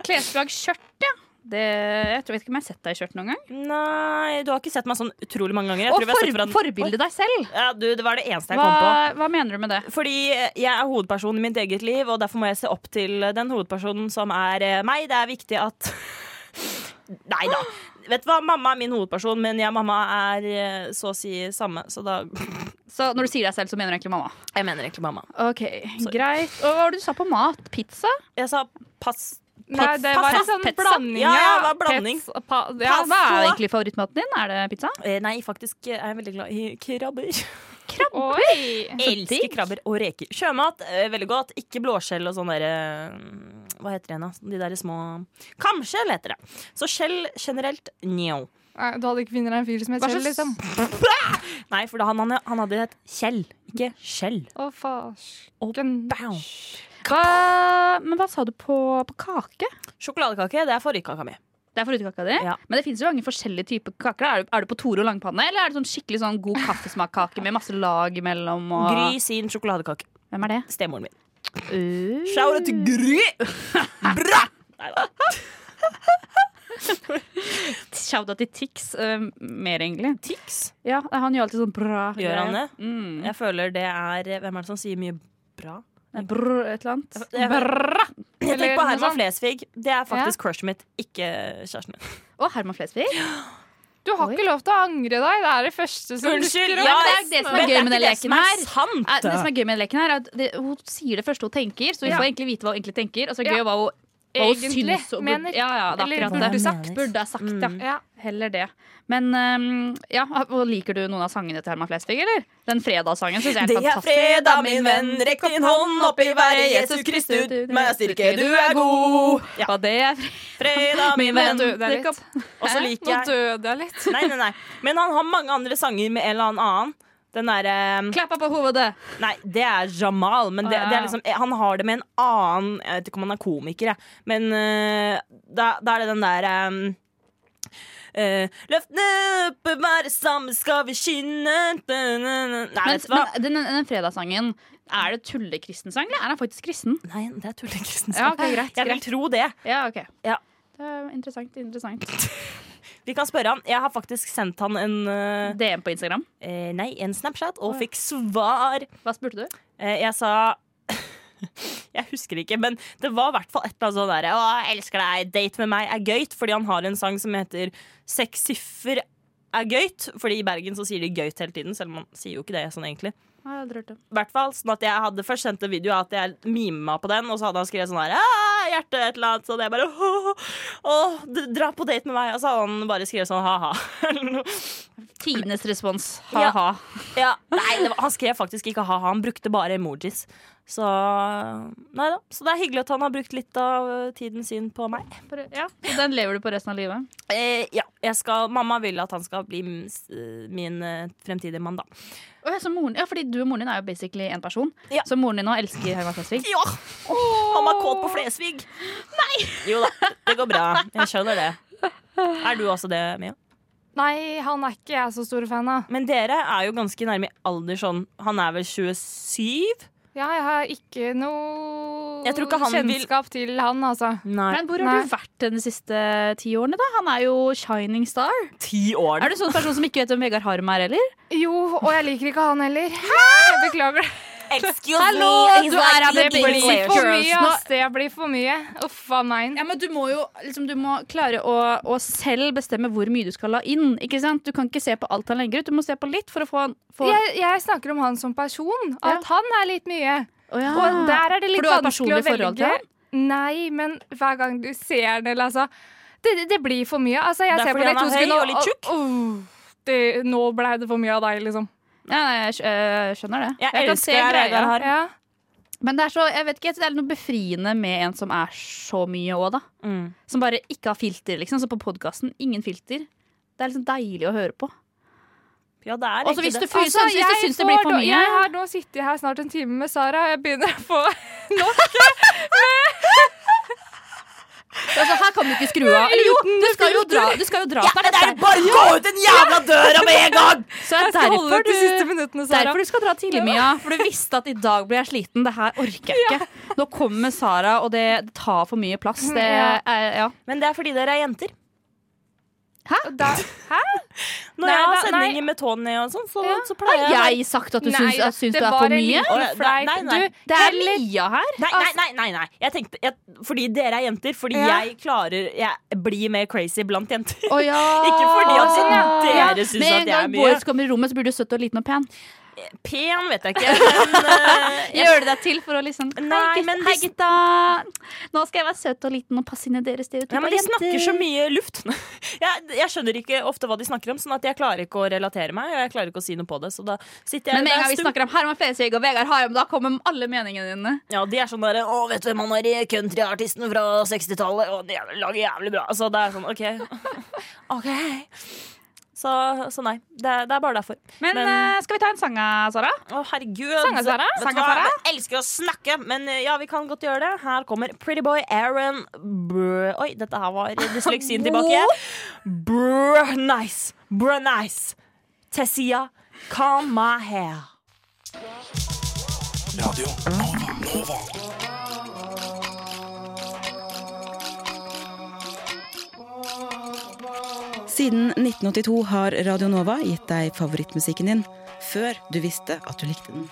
E: Klesplagg, skjørt, ja. Det, jeg tror jeg vet ikke om jeg har sett deg i skjørt noen gang.
D: Nei, du har ikke sett meg sånn utrolig mange ganger. Jeg
E: Og
D: tror vi har sett
E: for,
D: hverandre-
E: forbilde deg selv.
D: Oi. Ja, du, det var det eneste jeg
E: Hva,
D: kom på.
E: hva mener du med det?
D: Fordi jeg er hovedpersonen i mitt eget liv, og derfor må jeg se opp til den hovedpersonen som er eh, meg. Det er viktig at Nei da. Vet du hva, mamma er min hovedperson, men jeg og mamma er eh, så å si samme, så da
E: Så når du sier deg selv, så mener du egentlig mamma.
D: Jeg mener egentlig mamma.
E: Ok, Greit. Og hva var det du sa på mat? Pizza?
D: Jeg sa pass...
F: Nei, det var en sånn
D: Pizza.
F: blanding.
D: Ja, ja, det var blanding.
F: Pets, pa, ja,
D: Pasta.
E: Hva er egentlig favorittmaten din? Er det pizza?
D: Eh, Nei, faktisk er jeg veldig glad i krabber.
F: Oi!
D: Elsker krabber og reker. Sjømat, eh, veldig godt. Ikke blåskjell og sånn derre Hva heter det igjen, da? De derre små Kamskjell heter det. Så skjell generelt, njau.
F: Nei, Du hadde ikke funnet deg en fyr som het
D: Hva
F: Kjell,
D: slags-
F: liksom?
D: Nei, for da han, han, han hadde hett Kjell, ikke Skjell.
F: Å, farsken.
D: Bam.
E: Hva, men hva sa du på, på kake?
D: Sjokoladekake, det er forrige mi.
E: Det er forhudkaka di?
D: Ja.
E: Men det finnes jo mange forskjellige typer kaker. da. Er du, er du på Toro langpanne, eller er det sånn skikkelig sånn god kaffesmakkake med masse lag imellom? Og...
D: Gry sin sjokoladekake.
E: Hvem er det?
D: Stemoren min.
E: Uh,
D: Shout out til Gry! Bra! Neida.
E: Shouta til Tix eh, mer, egentlig.
D: Tix.
E: Ja, Han gjør alltid sånn bra.
D: Gjør han det?
E: Mm.
D: Jeg føler det er Hvem er det som sier mye bra?
E: Brr, et eller annet.
D: Jeg,
F: Brr.
D: jeg tenker
F: Eller
D: på
F: noe
D: Herman
F: sånt.
D: Flesvig. Det er faktisk crushet mitt, ikke kjæresten min.
E: Og Herman Flesvig.
F: Du har
E: Oi.
F: ikke lov til å angre deg. Det er det første som
D: Unnskyld!
E: Ja, men det er jo det som er
D: men
E: gøy med den
D: ikke
E: leken
D: som er
E: her.
D: Sant.
E: Eh, Det som er gøy med den leken, her er at det, hun sier det første hun tenker, så vi
F: Ja.
E: får egentlig vite hva hun egentlig tenker. Og så er det
F: Ja.
E: gøy hva hun, hva hun
F: egentlig
E: syns. og burde-
F: mener.
E: Ja, ja, det er
F: Eller
E: akkurat det.
F: burde sagt. Mm.
E: Burde ha sagt, ja.
F: Ja.
E: Heller det. Men ehm, ja, og liker du noen av sangene til Herman Flesvig, eller? Den fredagssangen syns jeg er
D: Det er
E: fantastisk.
D: fredag, min venn, rekk din hånd opp i været. Jesus Kristus, meg er styrke, du er god. Ja.
E: Og det er fredag,
D: Fredag, min
E: min venn.
D: venn.
F: døde jeg
E: Rekk
F: litt.
E: opp.
D: Og så liker
F: Nå
D: jeg
F: døde jeg litt.
D: Nei, nei, nei. Men han har mange andre sanger med en eller annen annen. Den derre
E: Klappa på hovedet.
D: Nei, det er Jamal, men det,
E: Å, ja.
D: det er liksom, han har det med en annen Jeg vet ikke om han er komiker, jeg. Men eh, da, da er det den der eh, eh, Løftene oppe, være sammen, skal vi skinne Nei,
E: Men,
D: vet du hva?
E: men den, den fredagssangen, er det tullekristen sang, eller er han faktisk kristen?
D: Nei, det er tullekristensen.
E: Ja, ok, greit,
D: jeg vil
E: greit.
D: tro det.
E: Ja, ok.
D: Ja.
E: Det er interessant. interessant
D: Vi kan spørre han. Jeg har faktisk sendt han en, eh,
E: DM på Instagram.
D: eh, nei, en Snapchat og fikk svar.
E: Hva spurte du?
D: Eh, jeg sa Jeg husker ikke, men det var i hvert fall et eller annet sånn derre Å, jeg elsker deg, date med meg er gøyt, fordi han har en sang som heter Seks siffer er gøyt. Fordi i Bergen så sier de gøyt hele tiden, selv om man sier jo ikke det sånn egentlig.
E: Jeg har aldri hørt det.
D: I hvert fall, sånn at jeg hadde først sendt en video av at jeg mimet meg på den, og så hadde han skrevet sånn her «Ah, hjerte et eller annet. Sånn, jeg bare åh, åh, d- dra på date med meg. Og så har han bare skrevet sånn ha-ha. eller noe.
E: Tidenes respons.
D: Ja.
E: Ha-ha.
D: ja. Nei, det var, han skrev faktisk ikke ha-ha, han brukte bare emojis. Så nei da. Så det er hyggelig at han har brukt litt av eh, tiden sin på meg.
E: Ja. Så den lever du på resten av livet?
D: Eh, ja, jeg skal, Mamma vil at han skal bli m- s- eh, min eh, fremtidige mann, da.
E: Å, ja, så moren, ja, fordi du og moren din er jo basically én person.
D: Ja.
E: Så moren din nå elsker Herman Flesvig.
D: Ja! Mamma er kåt på Flesvig. Nei! Jo da, det går bra. Jeg skjønner det. Er du også det, Mia?
F: Nei, han er ikke jeg så stor fan av.
D: Men dere er jo ganske nærme i alder sånn. Han er vel 27?
F: Ja, jeg har ikke noe
D: Jeg tror ikke han vil-
F: kjennskap til han, altså.
D: Nei.
E: Men hvor har
F: Nei.
E: du vært de siste ti årene, da? Han er jo shining star.
D: ti år.
E: Er du en sånn person som ikke vet hvem Vegard Harm er, eller?
F: Jo, og jeg liker ikke han heller. Jeg beklager det.
D: Excuse
E: Hallo,
D: he's
E: du
D: like
E: er av
D: the
E: det
D: big
E: bildet.
D: player.
F: For
E: Girls,
F: mye,
E: nå-
F: ass. Det blir for mye. Uff a meg.
E: Ja, men Du må jo liksom, du må klare å, å selv bestemme hvor mye du skal la inn. ikke sant? Du kan ikke se på alt han legger ut. Du må se på litt for å få han få-
F: Jeg, jeg snakker om han som person. At han er litt mye.
E: Å ja.
F: Og der er
E: Ah.
F: det
E: For
F: litt
E: du har et
F: vanskelig å
E: personlig forhold til
F: velge.
E: han?
F: Nei, men hver gang du ser den, eller altså det, det blir for mye. Altså, jeg
D: Det er
F: ser på
D: fordi
F: det
D: han
F: i to
D: er høy
F: sekunder
D: og litt tjukk.
F: åh, det, nå ble det for mye av deg, liksom.
E: Ja, nei, jeg skj- øh, skjønner det.
D: Jeg
E: kan
D: elsker
E: se
D: deg,
E: greia.
D: Vegard Harm.
F: Ja.
E: Men det er, så, jeg vet ikke, det er noe befriende med en som er så mye òg, da.
D: Mm.
E: Som bare ikke har filter, liksom. Så på podkasten, ingen filter. Det er liksom deilig å høre på.
D: Ja, det er
E: Og så hvis
D: ikke
E: du
D: det.
E: fy- syns- hvis du
F: Altså, jeg
E: syns det blir
F: får
E: for
F: da-
E: mye
F: Jeg har nå sittet her snart en time med Sara, og jeg begynner å få
E: altså, Her kan du ikke skru av. Eller jo, du skal jo dra, du skal jo dra
D: Ja,
E: snart.
D: men det er bare gå ut den jævla døra med en gang!
E: Så det er
F: skal holde
E: derfor
F: ut de siste
E: du
F: minuttene, Sara.
E: Derfor du skal dra tidlig, Mia. For du visste at i dag blir jeg sliten. Det her orker jeg ikke. Nå kommer Sara, og det, det tar for mye plass. Det,
F: Ja.
E: er, ja.
D: Men det er fordi dere er jenter.
F: Da, hæ?
D: Når
F: Nei,
D: jeg har
F: da-
D: sendinger med Tony og sånn, så,
F: Ja.
D: så pleier
E: Har
D: jeg
E: jeg sagt at du syns, at syns du er for mye?
D: Å, ja,
F: liten fleip.
D: nei, nei.
F: Du,
E: Det er
F: heller-
E: Mia her.
D: Nei, nei, nei, nei, nei. Jeg tenkte, jeg, fordi dere er jenter. Fordi
F: Ja.
D: jeg klarer Jeg blir mer crazy blant jenter.
E: Å ja.
D: Ikke fordi at
F: sånn, ja.
D: dere syns
E: Med
D: at
E: en
D: jeg er
E: gang
D: mye
E: Bård kommer i rommet, så blir du søt og liten og pen.
D: pen, vet jeg ikke. Men, eh, jeg,
E: Gjør du deg til for å liksom
D: Nei,
E: Hei,
D: men
E: gutta, hei,
D: hvis-
E: gutta! Nå skal jeg være søt og liten og passe inn i deres stereotyper.
D: ja, men de snakker så mye luft. Jeg, jeg skjønner ikke ofte hva de snakker om, sånn at jeg klarer ikke å relatere meg. Og jeg klarer ikke å si noe på det, så da sitter jeg
E: Men med en
D: der
E: gang vi
D: stum.
E: snakker om Herman Flesvig og Vegard Harm, da kommer alle meningene dine.
D: Ja, de er sånn derre Å, vet du hvem han er i countryartisten fra 60-tallet? Å, de er- lager jævlig bra. Altså, det er sånn, OK. OK. Så, så nei. Det, er- det er bare derfor.
E: Men,
D: Men-
E: eh, skal vi ta en sang, eh, Sara?
D: Å, herregud.
F: Sanger, Sara?
D: Vet du
F: Sanger,
D: hva?
F: Sara?
D: Jeg elsker å snakke, men eh, ja, vi kan godt gjøre det. Her kommer Pretty Boy Aaron Brr. Oi, dette her var dysleksien tilbake. Brr, nice. Brr, nice. Tessia, calm my hair.
G: Siden 1982 har Radio Nova gitt deg favorittmusikken din, før du visste at du likte den.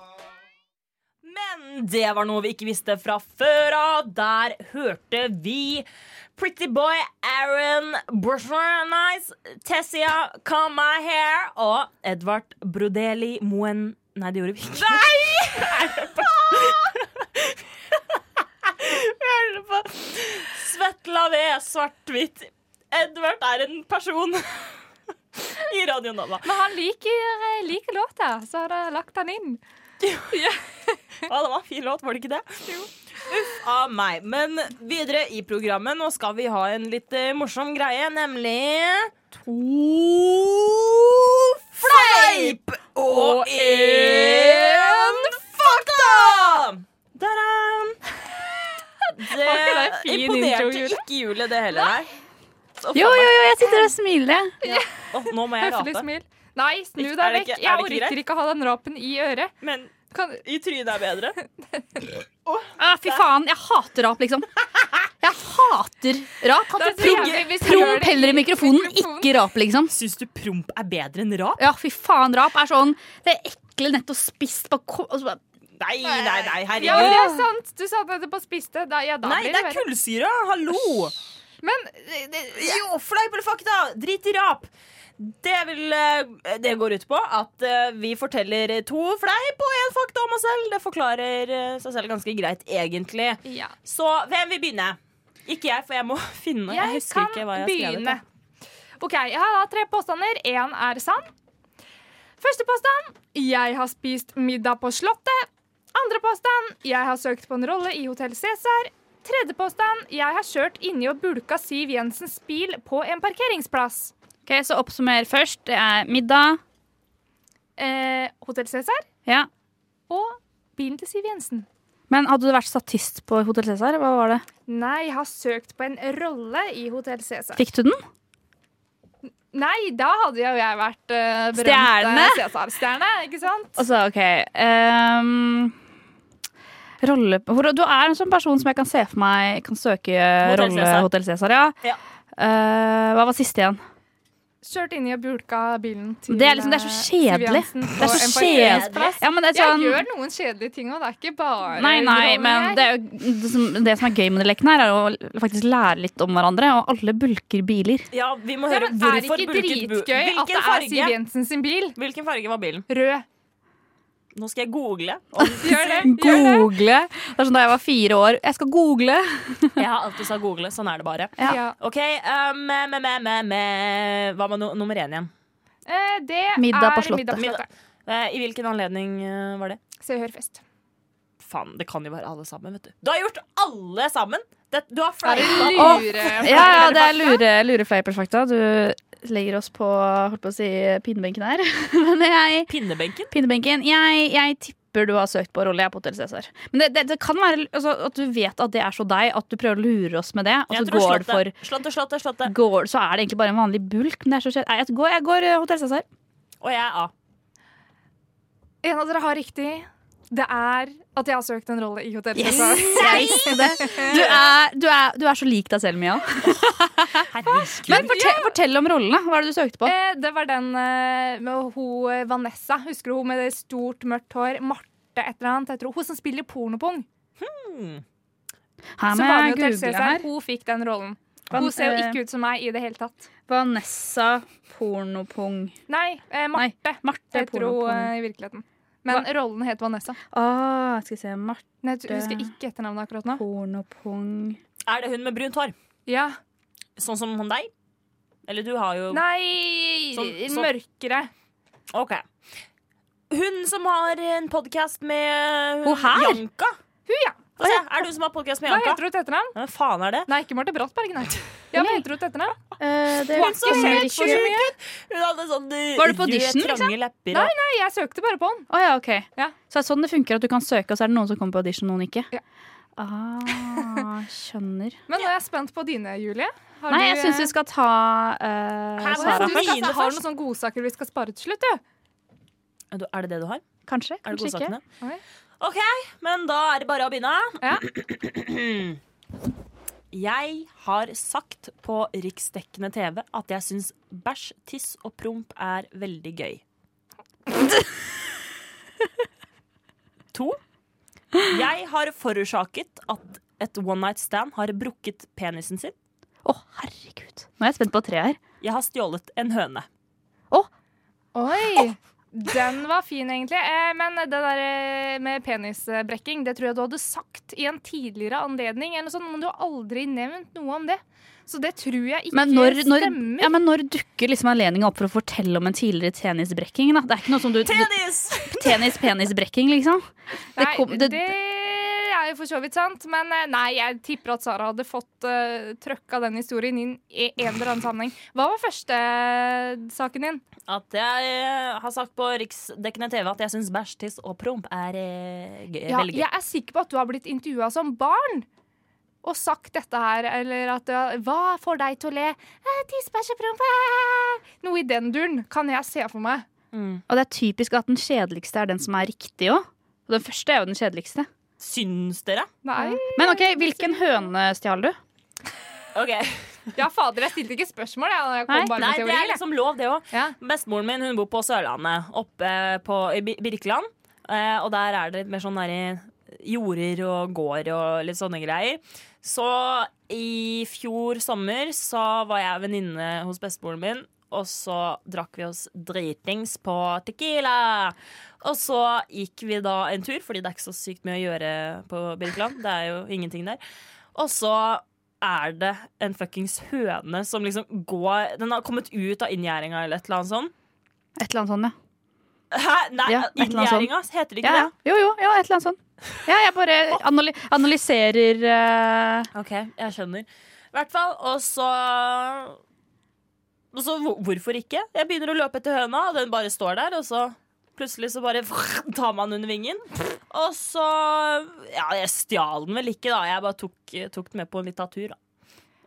D: Men det var noe vi ikke visste fra før av. Der hørte vi Pretty Boy Aaron Brr, nice. Tessia, calm my hair. Og Edvard Brodeli Moen Nei, det gjorde vi ikke. Vi hører på Svetla V, svart-hvitt. Edvard er en person i Radio Nova.
F: Men han liker, eh, liker låta, så har jeg lagt han inn.
D: Ja, det var en fin låt, var det ikke det? Uff a meg. Men videre i programmet, nå skal vi ha en litt eh, morsom greie, nemlig To fleip og én fakta! Da-da! Det
F: fin intro,
D: imponerte
F: Julie?
D: ikke Julie, det heller, nei. Så faen
E: Jo,
D: meg-
E: jo, jo, jeg sitter og smiler.
D: Å, nå må jeg
F: Høflig
D: rape.
F: smil. Nei, snu
D: Ikke- er
F: deg
D: det
F: vekk.
D: ikke- er
F: jeg
D: det ikke
F: orker
D: greit?
F: ikke å ha den rapen i øret.
D: Men
F: Kan,
D: i trynet er bedre.
E: Ah, fy faen, jeg hater rap, liksom. Jeg hater rap.
F: det er så
E: Promp-
F: jævlig hvis Altså, jeg gjør
E: Promp
F: det
E: heller i mikrofonen,
F: mikrofonen.
E: ikke rap, liksom.
D: Syns du promp er bedre enn rap?
E: Ja, fy faen, rap er sånn Det er ekle nettopp spist på ko- og så bare-
D: Nei, nei, nei, herregud.
F: ja, det er sant. Du sa det på spiste. Da, ja, da
D: Nei,
F: blir
D: det
F: det
D: er
F: verre.
D: kullsyre! Hallo!
F: Men det- det-
D: Jo, fleip eller fakta! Drit i rap! Det, vil, eh, det går ut på at eh, vi forteller to fleip og én fakta om oss selv. Det forklarer eh, seg selv ganske greit, egentlig.
F: ja.
D: Så hvem vil begynne? Ikke jeg, for jeg må finne Jeg,
F: Jeg
D: husker
F: kan
D: ikke hva jeg har skrevet.
F: begynne. OK, jeg har da tre påstander. Én er sann. Første påstand jeg har spist middag på Slottet. Andre påstand jeg har søkt på en rolle i Hotell Cæsar. Tredje påstand jeg har kjørt inni og bulka Siv Jensens bil på en parkeringsplass.
E: Ok, Så oppsummer først. Det er middag.
F: Eh, Hotell Cæsar
E: Ja.
F: og bilen til Siv Jensen.
E: Men hadde du vært statist på Hotell Cæsar? Hva var det?
F: Nei, jeg har søkt på en rolle i Hotell Cæsar.
E: Fikk du den?
F: Nei, da hadde jo jeg vært uh, berømt
E: Stjerne?
F: eh, Cæsar-stjerne, ikke sant?
E: Altså, OK ehm, Rolle hvor, Du er en sånn person som jeg kan se for meg kan søke rolle
D: Cæsar.
E: Hotell Cæsar. Ja.
D: Ja.
E: Eh, hva var siste igjen?
F: Kjørt inn i og bulka bilen til
E: Det er liksom- det er så
F: eh,
E: kjedelig.
F: Siv Jensen
E: Det
F: på
E: er
F: en
E: så kjedelig.
F: parkeringsplass.
E: Ja, men det er sånn,
F: Jeg gjør noen kjedelige ting òg, det er ikke bare
E: Nei, nei,
F: roller
E: men
F: her.
E: det, er jo, det, som, det som er gøy med de lekene her, er å faktisk lære litt om hverandre. Og alle bulker biler.
D: Ja, vi må
F: Ja,
D: høre
F: men er det
D: hvorfor bulket
F: ikke
D: bu-
F: dritgøy at det
D: Hvilken
F: er Siv
D: farge?
F: Jensen sin bil?
D: Hvilken farge var bilen?
F: Rød.
D: Nå skal jeg google. om-
F: Gjør det. Gjør det.
E: Google. Det er sånn da jeg var fire år. Jeg skal google.
D: Jeg har alltid sagt google. Sånn er det bare.
E: Ja.
F: Ja.
D: OK, um, me, me, me, me, me. hva var no nummer én igjen?
F: Eh, Det
E: Middag på
F: er
E: Slottet.
F: Middag på Slottet.
D: Eh, I hvilken anledning eh, var det?
F: Se og hør fest.
D: Faen, det kan jo være alle sammen, vet du. Du har gjort alle sammen! Det, du har
F: Er det
D: fleipa.
F: lure?
E: Ja, ja, det er lure, lure fleiperfakta. Du legger oss på holdt på å si, pinebenken her. Men jeg
D: Pinnebenken?
E: Pinebenken. Jeg, jeg tipper du har søkt på rolle jeg på Hotell Cæsar. Men det, det, det kan være altså, at du vet at det er så deg, at du prøver å lure oss med det. Og
D: Jeg
E: så
D: tror
E: går det Altså, for
D: slottet. Slottet, slottet, slottet.
E: går, Så er det egentlig bare en vanlig bulk. Men det er så kjedelig. Nei, jeg går, jeg går eh, Hotell Cæsar.
D: Og jeg er A.
F: En av dere har riktig. Det er at jeg har søkt en rolle i Hotell
E: Yes!
F: Cæsar.
E: Jeg visste det. Du er, du, er, du er så lik deg selv, Mia. Men fortell, fortell om rollene. Hva er det du søkte på?
F: Eh, det var den eh, med hun eh, Vanessa. Husker du hun med det stort, mørkt hår? Marte et eller annet. Jeg tror hun som spiller pornopung.
E: Her
F: Eh, Så
E: må
F: var det
E: jeg
F: jo til
E: google
F: Cæsar.
E: her.
F: Hun fikk den rollen.
E: Van-
F: Hun ser jo
E: eh,
F: ikke ut som meg i det hele tatt.
E: Vanessa Pornopung.
F: Nei, eh, Marte
E: Marte
F: heter hun
E: Pornopung.
F: eh, i virkeligheten. Men rollen het Vanessa.
E: Ah, skal vi se. Marte
F: Nei, jeg husker ikke etternavnet akkurat nå.
E: Pornopung.
D: Er det hun med brunt hår?
F: Ja.
D: Sånn som hun deg? Eller du har jo
F: Nei,
D: Sånn- sånn-
F: mørkere.
D: OK. Hun som har en podkast med hun,
E: Hun her?
D: Janka.
F: Hun, ja.
D: Få se, er det hun som har podkast med
F: Hva
D: Janka?
F: heter hun til etternavn?
D: Hvem faen er det?
F: Nei, ikke Marte Brattberg, nei. Ja, hva heter hun til etternavn?
E: Eh, det
D: Hun så
E: kommer
D: helt
E: ikke.
D: sjuk ut! Hun hadde sånn eh,
E: Var det på audition,
D: trange lepper.
F: Nei, nei, jeg søkte bare på den.
E: Å ja, ok.
F: Ja.
E: Så det er sånn det funker, at du kan søke, og så er det noen som kommer på audition, noen ikke?
F: Ja.
E: Ah, skjønner.
F: Men nå er jeg spent på dine, Julie. Har
E: Nei,
F: du,
E: jeg syns
F: eh,
E: vi skal ta
D: Her
E: eh,
D: var
E: Sara
D: det
F: Du
D: først.
F: skal,
D: Mine
F: har
D: først.
F: noen sånne godsaker vi skal spare til slutt, du.
D: Er det- Er det det du har?
E: Kanskje,
D: Er det
E: kanskje ikke.
D: godsakene?
F: Oi.
D: OK, men da er det bare å begynne.
F: Ja.
D: Jeg har sagt på riksdekkende TV at jeg syns bæsj, tiss og promp er veldig gøy. to. Jeg har forårsaket at et one night stand har brukket penisen sin.
E: Å, herregud. Nå er jeg spent på tre her.
D: Jeg har stjålet en høne.
F: Oi! Den var fin, egentlig. Eh, Men det der eh, med penisbrekking, det tror jeg du hadde sagt i en tidligere anledning, eller noe sånt, men du har aldri nevnt noe om det. Så det tror jeg ikke
E: Men når, når,
F: stemmer.
E: ja, men når dukker liksom anledningen opp for å fortelle om en tidligere tennisbrekking? Da? Det er ikke noe som du, du
D: Penis!
E: Tennis-penisbrekking, liksom?
F: Nei,
E: Det kom,
F: det,
E: det,
F: er jo for så vidt sant, men eh, nei, jeg tipper at Sara hadde fått uh, trøkka den historien inn i en eller annen sammenheng. Hva var første eh, saken din?
D: At jeg eh, har sagt på riksdekkende TV at jeg syns bæsj, tiss og promp er eh, gøy,
F: Ja,
D: veldig gøy.
F: jeg er sikker på at du har blitt intervjua som barn og sagt dette her, eller at du har, Hva får deg til å le? Eh, Tissebæsjeprompe! Noe i den duren kan jeg se for meg.
D: Mm.
E: og det er typisk at den kjedeligste er den som er riktig òg. Og den første er jo den kjedeligste.
D: Syns dere?
F: Nei.
E: Men OK,
F: Mm,
E: hvilken høne stjal du?
D: Ok,
F: Ja, fader, jeg stilte ikke spørsmål, jeg. da Jeg kom
E: Nei,
F: bare
D: Nei, det
F: med
D: er
F: teorier. jeg.
D: liksom lov, det òg.
F: Ja.
D: Bestemoren min hun bor på Sørlandet, oppe på, i Bir- Birkeland. Eh, og der er det litt mer sånn der i jorder og gård og litt sånne greier. Så i fjor sommer så var jeg venninne hos bestemoren min, og så drakk vi oss dritings på Tequila. Og så gikk vi da en tur, fordi det er ikke så sykt mye å gjøre på Birkeland. Det er jo ingenting der. Og så er det en fuckings høne som liksom går Den har kommet ut av inngjerdinga eller et eller annet sånt.
E: Et eller annet sånt, ja.
D: Hæ? Nei,
E: Ja, et eller annet sånt.
D: inngjerdinga? Heter det
E: ja,
D: ikke
E: ja. Jo, jo, ja, et eller annet sånt. Ja, jeg bare analy analyserer eh,
D: det? OK, jeg skjønner. I hvert fall. Og så Og så hvor- hvorfor ikke? Jeg begynner å løpe etter høna, og den bare står der, og så Plutselig så bare tar man under vingen. Og så Ja, jeg stjal den vel ikke, da. Jeg bare tok, tok den med på en liten tur, da.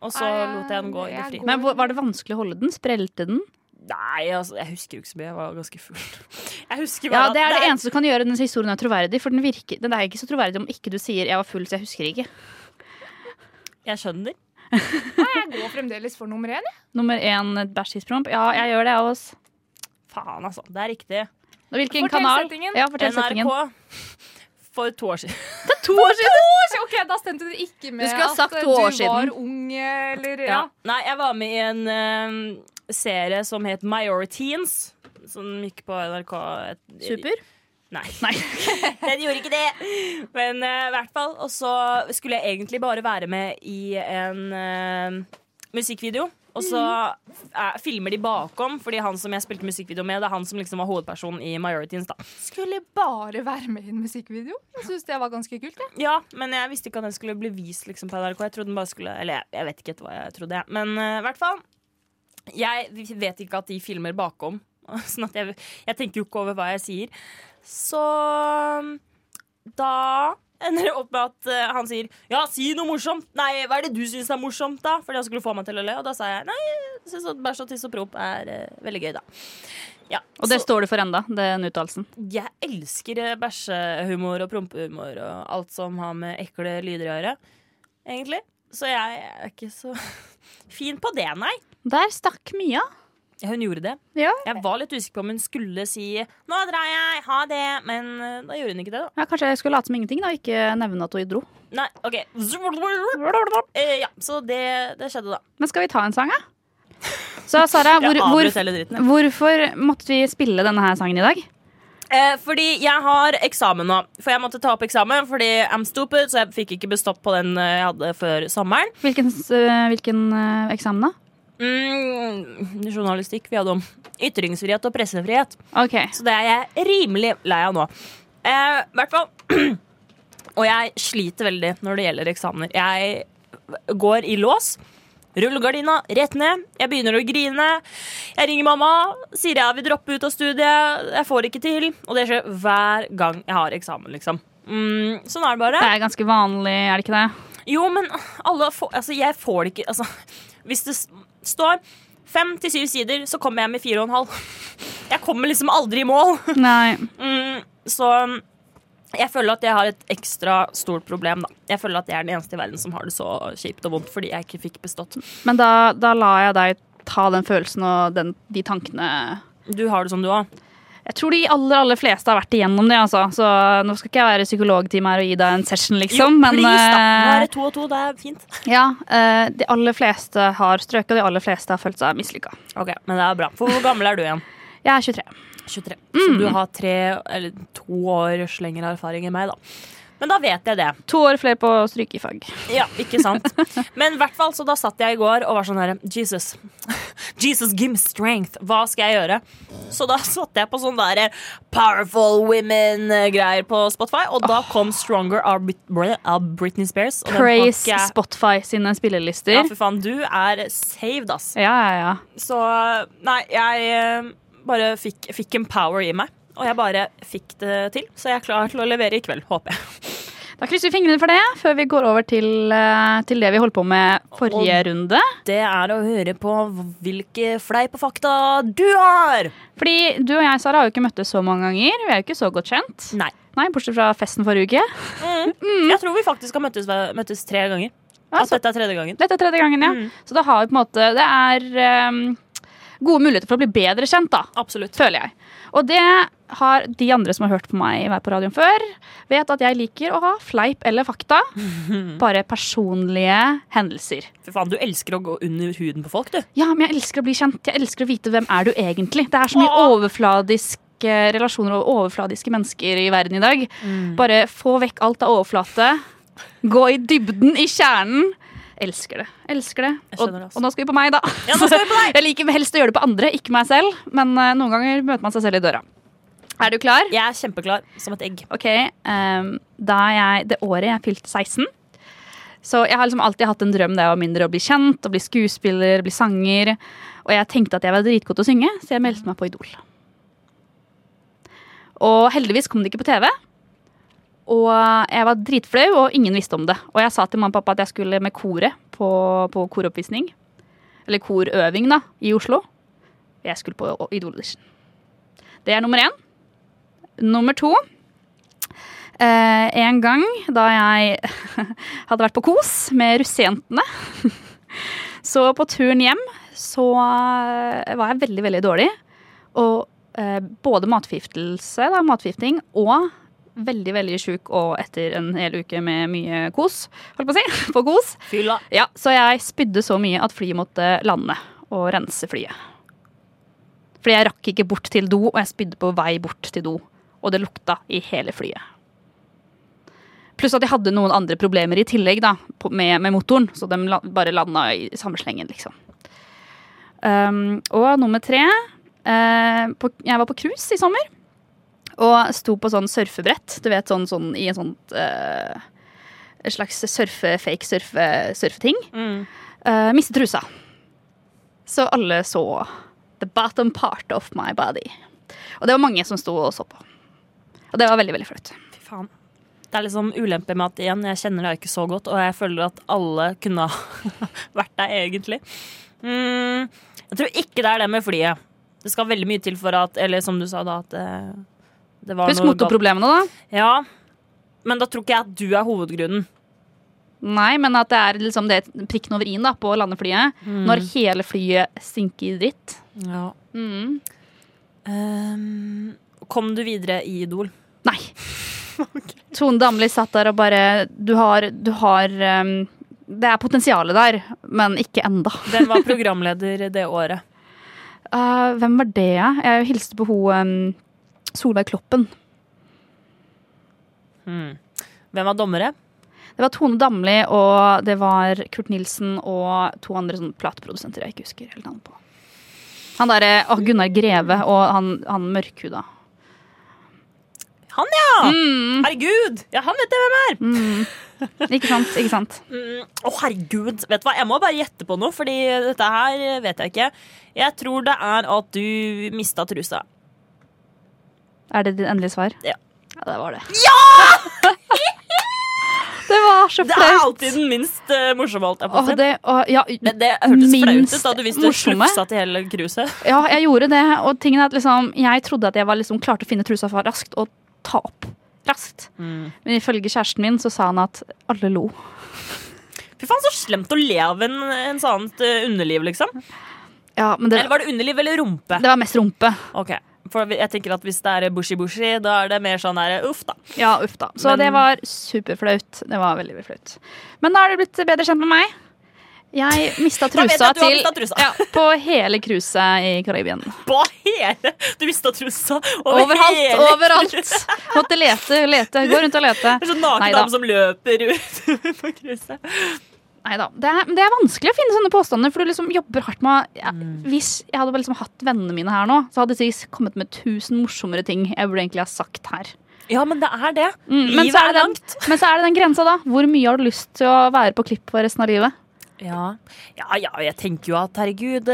D: Og så
F: Nei,
D: lot jeg den gå i det
F: jeg
D: fri.
F: går-
E: Men hvor- var det vanskelig å holde den? Sprelte den?
D: Nei, altså, jeg husker jo ikke så mye. Jeg var ganske full. Jeg husker bare
E: Ja, Det er
D: at
E: det eneste som kan gjøre denne historien er troverdig. For den, virker, den er ikke så troverdig om ikke du sier 'jeg var full, så jeg husker ikke'.
D: Jeg skjønner.
F: Jeg går fremdeles for nummer én. jeg.
E: Nummer én et bæsjtidspromp. Ja, jeg gjør det, jeg også.
D: Faen, altså. Det er riktig.
E: Og Hvilken
F: Fortell
E: kanal?
F: settingen.
E: Ja, fortell settingen.
D: NRK for to år siden.
E: To år siden!
F: Så, Ok, Da stemte det ikke med
E: Du skulle ha sagt
F: at
E: to år
F: du var
E: siden.
F: ung, eller ja.
D: Ja. Nei, jeg var med i en eh, serie som het Majoriteens. Som gikk på NRK et,
E: Super.
D: Nei.
E: Nei.
D: Den gjorde ikke det. Men eh, i hvert fall. Og så skulle jeg egentlig bare være med i en eh, musikkvideo. Og så
E: Mm.
D: eh, filmer de bakom, fordi han som jeg spilte musikkvideo med, det er han som liksom var hovedpersonen i Majoriteens. da
F: Skulle bare være med i en musikkvideo. Jeg synes det var ganske kult. Jeg.
D: Ja, men jeg visste ikke at den skulle bli vist liksom, på NRK. Jeg trodde den bare skulle Eller jeg, jeg vet ikke hva jeg trodde, jeg. Men eh, i hvert fall. Jeg vet ikke at de filmer bakom. Sånn at jeg, jeg tenker jo ikke over hva jeg sier. Så da ender det opp med at eh, han sier 'ja, si noe morsomt'. Nei, hva er det du syns er morsomt, da? Fordi han skulle få meg til å le, og da sa jeg nei, jeg syns at bæsj og tiss og promp er eh, veldig gøy, da. Ja,
E: Og det
D: så-
E: står du for enda, den uttalelsen.
D: jeg elsker eh, bæsjehumor og prompehumor og alt som har med ekle lyder å gjøre, egentlig. Så jeg er ikke så fin på det, nei.
E: Der stakk Mia.
D: Ja, Hun gjorde det.
E: Ja.
D: Jeg var litt usikker på om hun skulle si 'nå drar jeg, ha det', men eh, da gjorde hun ikke det, da.
E: Ja, kanskje jeg skulle late som ingenting da, og ikke nevne at hun dro.
D: Nei, OK. Eh, Ja, så det, det skjedde, da.
E: Men skal vi ta en sang, da? Så Sara, hvor,
D: Jeg
E: hvor,
D: avbrøt hele dritten.
E: hvorfor måtte vi spille denne her sangen i dag?
D: Eh, fordi jeg har eksamen nå. For jeg måtte ta opp eksamen fordi I'm stupid, så jeg fikk ikke bestått på den eh, jeg hadde før sommeren.
E: Hvilken, s- øh, hvilken øh, eksamen, da?
D: Mm, journalistikk vi hadde om ytringsfrihet og pressefrihet.
E: OK.
D: Så det er jeg rimelig lei av nå. I eh, hvert fall. Og jeg sliter veldig når det gjelder eksamener. Jeg går i lås. Rullegardina rett ned. Jeg begynner å grine. Jeg ringer mamma, sier jeg vil droppe ut av studiet. Jeg får ikke til. Og det skjer hver gang jeg har eksamen, liksom. Mm, sånn er det bare.
E: Det er ganske vanlig, er det ikke det?
D: Jo, men alle får, altså, jeg får det ikke altså, Hvis det s- står fem til syv sider, så kommer jeg med fire og en halv. Jeg kommer liksom aldri i mål.
E: Nei.
D: Mm, så um, jeg føler at jeg har et ekstra stort problem, da. Jeg føler at jeg er den eneste i verden som har det så kjipt og vondt fordi jeg ikke fikk bestått.
E: Men da, da lar jeg deg ta den følelsen og den, de tankene
D: Du har det som du òg.
E: Jeg tror de aller aller fleste har vært igjennom det, altså. Så nå skal ikke jeg være psykologtime her og gi deg en session, liksom. men
D: please, da. Nå
E: øh,
D: er det to og to. Det er fint.
E: ja, øh, de aller fleste har strøket, og de aller fleste har følt seg mislykka.
D: Ok, Men det er bra. For hvor gammel er du igjen?
E: Jeg er 23.
D: 23. Så du har tre, eller to års lengre erfaring enn meg, da. Men da vet jeg det.
E: To år flere på strykefag.
D: Ja, ikke sant. Men i hvert fall, så da satt jeg i går og var sånn her Jesus. Jesus, give me strength. Hva skal jeg gjøre? Så da satte jeg på sånn der Powerful Women-greier på Spotify, og da kom Stronger av Brit- Br- av Britney Spears. Og den har ikke
E: Praise
D: jeg-
E: Spotify sine spillelister.
D: Ja,
E: Ja,
D: fy faen, du er saved, ass.
E: ja, ja.
D: Så nei, jeg eh, bare fikk, fikk en power i meg. Og jeg bare fikk det til, så jeg er klar til å levere i kveld, håper jeg.
E: Da krysser vi fingrene for det, før vi går over til, eh, til det vi holdt på med forrige runde.
D: Det er å høre på hvilke fleip og fakta du har!
E: Fordi du og jeg, Sara, har jo ikke møttes så mange ganger. Vi er jo ikke så godt kjent.
D: Nei. Mm.
E: Nei, Bortsett fra festen forrige uke.
D: Jeg tror vi faktisk har møttes, møttes tre ganger.
E: Ja,
D: At
E: så,
D: dette er tredje gangen.
E: dette er tredje gangen, ja. Så da har vi på en måte Det er eh, gode muligheter for å bli bedre kjent, da.
D: Absolutt.
E: føler jeg. Og det har de andre som har hørt på meg være på radioen før, vet at jeg liker å ha fleip eller fakta. Bare personlige hendelser.
D: Fy faen, du elsker å gå under huden på folk, du.
E: Ja, men jeg elsker å bli kjent. Jeg elsker å vite hvem er du egentlig. Det er så mye overfladiske relasjoner og overfladiske mennesker i verden i dag.
D: Mm.
E: Bare få vekk alt av overflate. Gå i dybden i kjernen. Elsker det. Elsker det.
D: Jeg
E: Og,
D: skjønner det, altså.
E: og nå skal vi på meg, da.
D: Ja, nå skal vi på deg!
E: Jeg liker helst å gjøre det på andre, ikke meg selv. Men eh, noen ganger møter man seg selv i døra. Er du klar?
D: Jeg er kjempeklar som et egg.
E: Ok, ehm, da jeg, det året jeg fylte 16 Så jeg har liksom alltid hatt en drøm da jeg var mindre Å bli kjent, å bli skuespiller, å bli sanger Og jeg tenkte at jeg var dritgod til å synge Så jeg meldte meg på Idol Og heldigvis kom det ikke på TV Og jeg var dritflau Og ingen visste om det Og jeg sa til mamma og pappa at jeg skulle med kore På, på koroppvisning Eller korøving da, i Oslo Jeg skulle på Idol-audition Det er nummer én Nummer to Eh, en gang da jeg hadde vært på kos med russejentene. så på turen hjem så eh, var jeg veldig, veldig dårlig. Og eh, både matforgiftelse, da, matforgifting, og veldig, veldig sjuk og etter en hel uke med mye kos, holdt på å si, på kos.
D: Fylla.
E: Ja, så jeg spydde så mye at flyet måtte lande og rense flyet. Fordi jeg rakk ikke bort til do, og jeg spydde på vei bort til do. Og det lukta i hele flyet. Pluss at jeg hadde noen andre problemer i tillegg da, på- med, med motoren, så de la, bare landa i samme slengen, liksom. Um, og nummer tre eh, på, Jeg var på cruise i sommer. Og sto på sånn surfebrett, du vet, sånn, sånn i en sånt eh, en slags surfe, fake surfe, surfeting. Eh, mistet trusa. Så alle så the bottom part of my body. Og det var mange som sto og så på. Og det var veldig, veldig flaut.
D: Fy faen. Det er liksom ulempe med at igjen, jeg kjenner deg ikke så godt, og jeg føler at alle kunne ha vært deg, egentlig. Mm, jeg tror ikke det er det med flyet. Det skal veldig mye til for at Eller som du sa, da, at eh, det var
E: Husk
D: noe galt.
E: motorproblemene, da.
D: Ja. Men da tror ikke jeg at du er hovedgrunnen.
E: Nei, men at det er liksom det prikken over i-en da, på landeflyet. Når hele flyet sinker i dritt.
D: Ja.
E: Mm.
D: Ehm, kom du videre i Idol?
E: Nei. Tone Damli satt der og bare Du har, du har ehm, Det er potensialet der, men ikke enda.
D: Den var programleder det året.
E: Eh, hvem var det? ja? Jeg hilste på hun um, Solveig Kloppen.
D: Hvem var dommere?
E: Det var Tone Damli og det var Kurt Nilsen og to andre sånne plateprodusenter jeg ikke husker helt navnet på. Han derre oh, Gunnar Greve og han, han mørkhuda.
D: Han, ja!
E: Mm.
D: Herregud! Ja, han vet jeg hvem er!
E: Ikke sant? ikke sant?
D: Mm, Å, herregud. Vet du hva, jeg må bare gjette på noe, fordi dette her vet jeg ikke. Jeg tror det er at du mista trusa.
E: Er det ditt endelige svar?
D: Ja.
E: det var det. Ja! det var så
D: Det er
E: flaut.
D: alltid den minst eh, morsomme, alt jeg på
E: Åh,
D: å si.
E: det, åh, ja,
D: Men det hørtes flaut ut
E: minst
D: da du visste du
E: morsomme.
D: slufsa til hele kruset.
E: ja, jeg gjorde det. Og tingen er at liksom, jeg trodde at jeg var liksom klarte å finne trusa for raskt og ta opp raskt.
D: Mm.
E: Men ifølge kjæresten min så sa han at alle lo.
D: Fy faen, så slemt å le av en, en sånt eh, underliv, liksom.
E: Ja, men det,
D: Eller var det underliv eller rumpe?
E: det var mest rumpe.
D: Ok, for jeg tenker at Hvis det er bushy-bushy, da er det mer sånn der uff, da.
E: Ja, uff da. Så
D: Men-
E: det var superflaut. Det var veldig, veldig flaut. Men da har du blitt bedre kjent med meg. Jeg mista
D: Da vet jeg
E: trusa
D: at du har
E: til
D: mistet trusa.
E: ja, på hele cruiset i Karibien.
D: På hele Du mista trusa over
E: Overalt!
D: hele
E: Overalt! Måtte lete, lete. Gå rundt og lete.
D: Det er sånn naken
E: Neida.
D: dame som løper ut på kruset.
E: Nei da. Det, er- men det er vanskelig å finne sånne påstander, for du liksom jobber hardt med ja,
D: Mm.
E: Hvis jeg hadde bare liksom hatt vennene mine her nå, så hadde de sikkert kommet med tusen morsommere ting jeg burde egentlig ha sagt her.
D: Ja, men det er det.
E: Mm, men,
D: Livet
E: så er
D: er
E: det den, men så er det den grensa, da. Hvor mye har du lyst til å være på klipp for resten av livet?
D: Ja. ja, ja, jeg tenker jo at herregud, eh,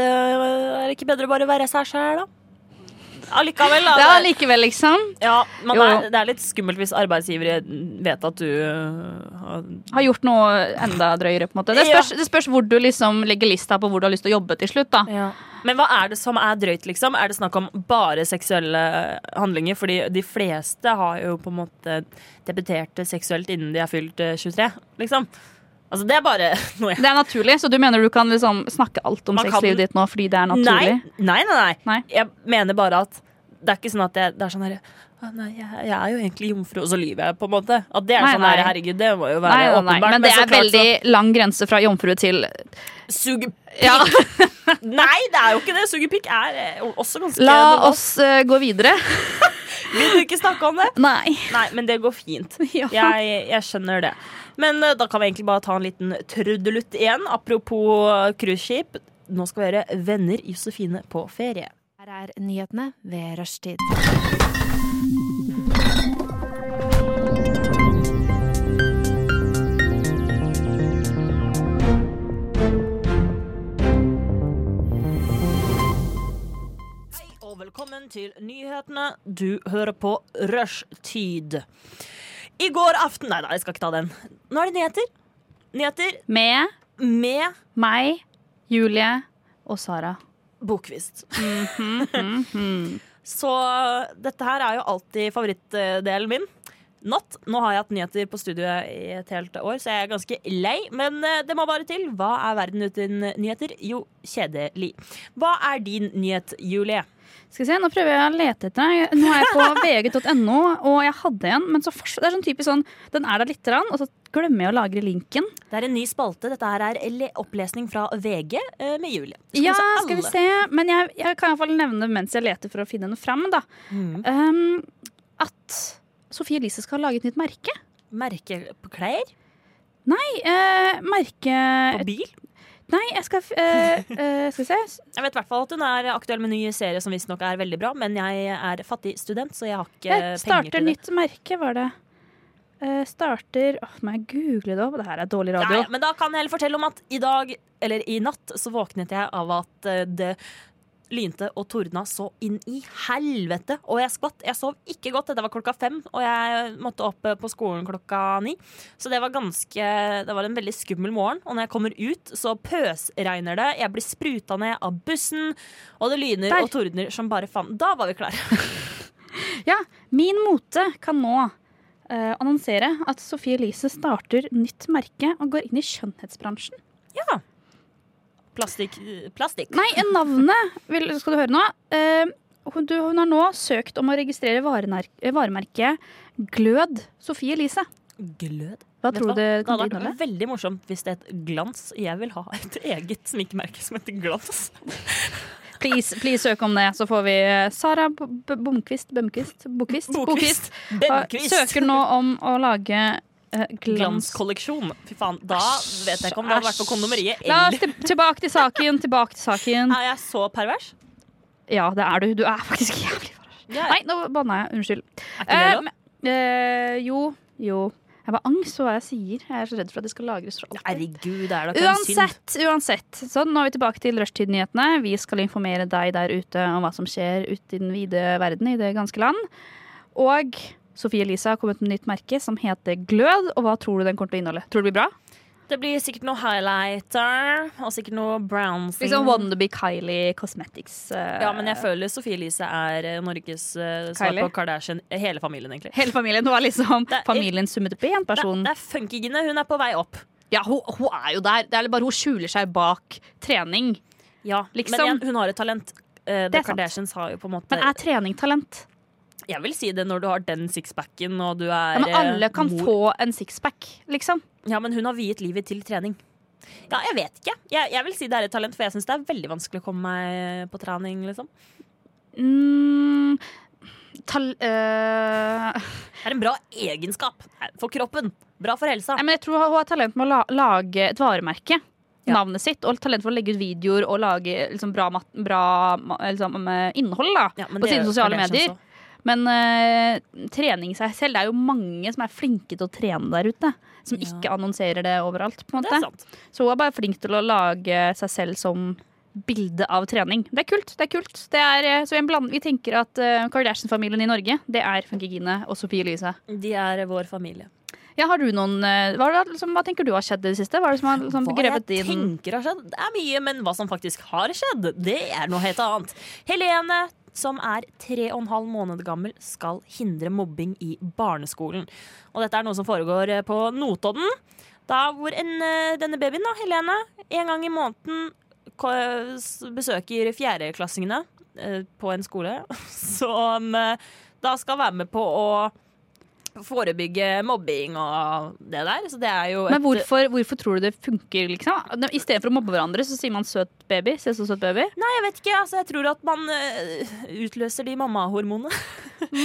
D: er det ikke bedre å bare være seg sjæl, da? Allikevel, da.
E: Ja,
D: det-
E: likevel, liksom.
D: ja, man
E: Jo, jo.
D: er, det er litt skummelt hvis arbeidsgivere vet at du eh, har
E: har gjort noe enda drøyere. på en måte Det
D: Ja.
E: spørs, det spørs hvor du liksom legger lista på hvor du har lyst til å jobbe til slutt. da
D: Men hva er det som er drøyt, liksom? Er det snakk om bare seksuelle handlinger? Fordi de fleste har jo på en måte debutert seksuelt innen de er fylt eh, 23, liksom. Altså, det er bare noe jeg
E: Det er naturlig, så du mener du kan liksom snakke alt om
D: Man kan-
E: sexlivet ditt nå fordi det er naturlig?
D: Nei, nei, nei, nei.
E: Nei.
D: Jeg mener bare at det er ikke sånn at jeg, det er sånn herre Nei, jeg, jeg er jo egentlig jomfru, og så lyver jeg, på en måte. At det er
E: Nei,
D: sånn herre,
E: nei.
D: herregud, det må jo
E: Nei,
D: være
E: nei, nei,
D: åpenbart.
E: men det
D: så
E: er
D: klart
E: veldig lang grense fra jomfru til
D: så- Suge
E: ja.
D: Nei, det er jo ikke det! Sugepikk er eh, også ganske
E: La
D: normalt.
E: oss eh, gå videre.
D: Vil du ikke snakke om det?
E: Nei.
D: Nei, men det går fint.
E: Ja.
D: Jeg, jeg skjønner det. Men eh, da kan vi egentlig bare ta en liten trudelutt igjen. Apropos cruiseskip. Nå skal vi høre Venner Josefine på ferie.
H: Her er nyhetene ved rushtid.
D: og velkommen til nyhetene. Du hører på Rushtid. I går aften Nei da, jeg skal ikke ta den. Nå er det nyheter. Nyheter
E: Med
D: med
E: meg, Julie og Sara.
D: Bokvist.
E: Mhm,
D: Så dette her er jo alltid favorittdelen min. Natt. Nå har jeg hatt nyheter på studiet i et helt år, så jeg er ganske lei. Men eh, det må bare til. Hva er verden uten nyheter? Jo, kjedelig. Hva er din nyhet, Julie?
E: Skal vi se, Nå prøver jeg å lete etter deg. Nå er jeg på vg.no, og jeg hadde en, men så fors- det er sånn typisk sånn Den er der lite grann, og så glemmer jeg å lagre linken.
D: Det er en ny spalte. Dette her er le- opplesning fra VG eh, med Julie. Så
E: Ja,
D: kanskje
E: skal vi
D: alle-
E: se. Men jeg, jeg kan iallfall nevne mens jeg leter for å finne noe fram, da.
D: Mm.
E: Um, at Sofie Elise skal ha laget nytt merke.
D: Merke på klær?
E: Nei, eh, merke
D: På bil?
E: Nei, jeg skal f- eh, eh, Skal vi se.
D: Jeg vet i hvert fall at hun er aktuell med en ny serie som visstnok er veldig bra, men jeg er fattig student, så jeg har ikke
E: Jeg
D: penger
E: Eh, starter
D: til det.
E: nytt merke, var det. Eh, starter Åh, må jeg google det opp? Det her er dårlig radio.
D: Nei, men da kan jeg heller fortelle om at i dag, eller i natt, så våknet jeg av at eh, det lynte og tordna så inn i helvete, og jeg skvatt. Jeg sov ikke godt, dette var klokka fem, og jeg måtte opp eh, på skolen klokka ni. Så det var ganske Det var en veldig skummel morgen, og når jeg kommer ut, så pøsregner det, jeg blir spruta ned av bussen, og det lyner
E: Der.
D: og tordner som bare faen. Da var vi klare.
E: Min mote kan nå eh, annonsere at Sofie Elise starter nytt merke og går inn i skjønnhetsbransjen.
D: Plastikk. plastikk.
E: Nei, eh, navnet vil, skal du høre nå. Eh, hun, du, hun har nå søkt om å registrere varener- eh, varemerket Glød Sofie Elise.
D: Glød.
E: Hva
D: Vet du
E: tror
D: hva?
E: du det
D: Det
E: kan
D: hadde
E: bli
D: vært
E: innholdet?
D: veldig morsomt hvis det het Glans. Jeg vil ha et eget smykkemerke som heter Glans.
E: Please, please søk om det, så får vi eh, Sara B- B- Bomkvist Bømkvist Bokvist. Bokvist.
D: Eh,
E: Ha-
D: Bennquist.
E: Ah, Søker nå om å lage eh, glans.
D: Glanskolleksjon. Fy faen, da vet jeg ikke om det hadde vært på kondomeriet.
E: La oss
D: Eller
E: til, tilbake til saken, tilbake til saken.
D: er jeg så pervers?
E: Ja, det er du. Du er faktisk jævlig Nei, nå banna jeg. Unnskyld.
D: Er ikke det
E: Eh,
D: lov?
E: men- eh, jo, jo. Jeg har bare angst for hva jeg sier. Jeg er så redd for at det skal lagres for alltid.
D: Herregud, det er da ikke en synd.
E: Uansett, uansett. Sånn, nå er vi tilbake til rushtidnyhetene. Vi skal informere deg der ute om hva som skjer ute i den vide verden i det ganske land. Og Sofie Elise har kommet med nytt merke som heter Glød. Og hva tror du den kommer til å inneholde? Tror du det blir bra?
D: Det blir sikkert noe highlighter og sikkert noe brownsing.
E: Liksom Wannabe Kylie Cosmetics. eh,
D: ja, men jeg føler Sofie Elise er eh, Norges eh, svar
E: Kylie?
D: på Kardashian. Hele familien, egentlig.
E: Hele familien. Hun er liksom
D: Det er-
E: familien summet opp i én
D: Det,
E: person.
D: det er funkygene. Hun er på vei opp.
E: Ja, hun, hun er jo der. Det er bare hun skjuler seg bak trening.
D: Ja,
E: Liksom.
D: Men igjen, hun har et talent. Eh,
E: Det
D: The
E: er sant.
D: Kardashians har jo på en måte
E: Men er trening talent?
D: Jeg vil si det når du har den sixpacken og du er
E: Ja, men alle
D: eh,
E: kan
D: mor.
E: få en sixpack, liksom.
D: Ja, men hun har viet livet til trening. Ja, jeg vet ikke. Jeg, jeg vil si det er et talent, for jeg syns det er veldig vanskelig å komme meg på trening, liksom.
E: Mm, tal... øh,
D: Det er en bra egenskap eh, for kroppen. Bra for helsa.
E: Nei, men jeg tror hun har talent med å la lage et varemerke.
D: Ja.
E: Navnet sitt, og talent for å legge ut videoer og lage liksom, bra, mat, bra ma- liksom, eh, innhold da,
D: Ja, men
E: på
D: det
E: sine
D: gjør
E: sosiale
D: Kardashians
E: medier.
D: også.
E: Men eh, trening i seg selv, det er jo mange som er flinke til å trene der ute. Som
D: Ja.
E: ikke annonserer det overalt. på en
D: Det
E: måte.
D: er sant.
E: Så hun er bare flink til å lage seg selv som bilde av trening. Det er kult. det er kult. Det er, eh, så vi, bland, vi tenker at eh, Kardashian-familien i Norge, det er Funky Gine og Sofie Elise.
D: De er vår familie.
E: Ja, har du noen, eh, hva, er det som- hva tenker du har skjedd i det siste? Hva er det som har liksom,
D: Hva jeg
E: grepet din
D: tenker har skjedd, det er mye, men hva som faktisk har skjedd, det er noe helt annet. Helene, som er tre og en halv måned gammel, skal hindre mobbing i barneskolen. Og dette er noe som foregår eh, på Notodden, da hvor en, eh, denne babyen, da, Helene, en gang i måneden ko- s- besøker fjerdeklassingene eh, på en skole, som eh, da skal være med på å forebygge mobbing og det der. Så det er jo
E: Men
D: et-
E: hvorfor, hvorfor tror du det funker? liksom? I stedet for å mobbe hverandre, så sier man 'søt baby'. Se så søt baby.
D: Nei, jeg vet ikke. Altså, jeg tror at man øh, utløser de eh, mammahormonene.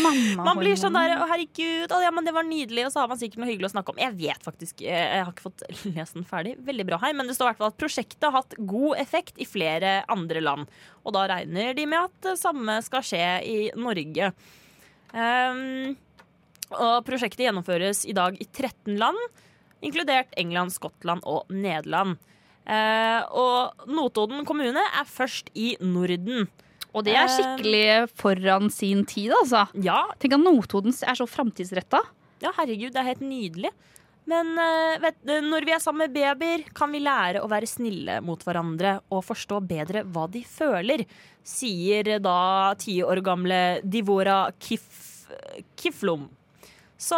E: Mamma
D: Man blir sånn der Å, herregud, å, ja, men det var nydelig. Og så har man sikkert noe hyggelig å snakke om. Jeg vet faktisk eh, Jeg har ikke fått lest den ferdig. Veldig bra her. Men det står i hvert fall at prosjektet har hatt god effekt i flere andre land. Og da regner de med at det samme skal skje i Norge. Ehm, og prosjektet gjennomføres i dag i 13 land, inkludert England, Skottland og Nederland. Eh, og Notodden kommune er først i Norden.
E: Og det er skikkelig foran sin tid, altså.
D: Ja,
E: Tenk at Notodden er så framtidsretta.
D: Ja, herregud, det er helt nydelig. Men eh, vet, du, når vi er sammen med babyer, kan vi lære å være snille mot hverandre og forstå bedre hva de føler, sier da ti år gamle Divora Kif, Kiflom. Så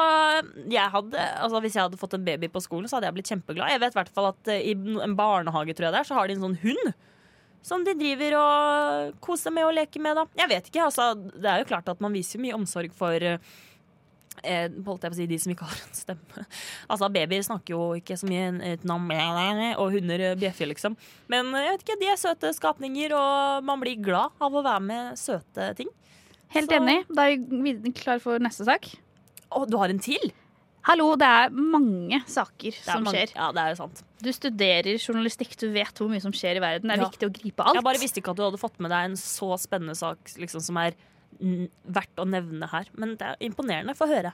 D: jeg hadde, altså hvis jeg hadde fått en baby på skolen, så hadde jeg blitt kjempeglad. Jeg vet i hvert fall at eh, i en barnehage tror jeg det er, så har de en sånn hund. Som de driver og koser med og leker med, da. Jeg vet ikke, altså. Det er jo klart at man viser jo mye omsorg for eh, eh, holdt jeg på å si, de som ikke har en stemme. Altså, Babyer snakker jo ikke så mye utenom Og hunder eh, bjeffer, liksom. Men eh, jeg vet ikke, de er søte skapninger, og man blir glad av å være med søte ting.
E: Helt
D: Så-
E: enig. Da er vi vid- klar for neste sak.
D: Å, du har en til?
E: Hallo, det er mange saker
D: Det er
E: som
D: mange-
E: skjer.
D: Ja, det er jo sant.
E: Du studerer journalistikk, du vet hvor mye som skjer i verden. Det er
D: Ja.
E: viktig å gripe alt.
D: Jeg bare visste ikke at du hadde fått med deg en så spennende sak liksom, som er mm, verdt å nevne her. Men det er imponerende. Få høre.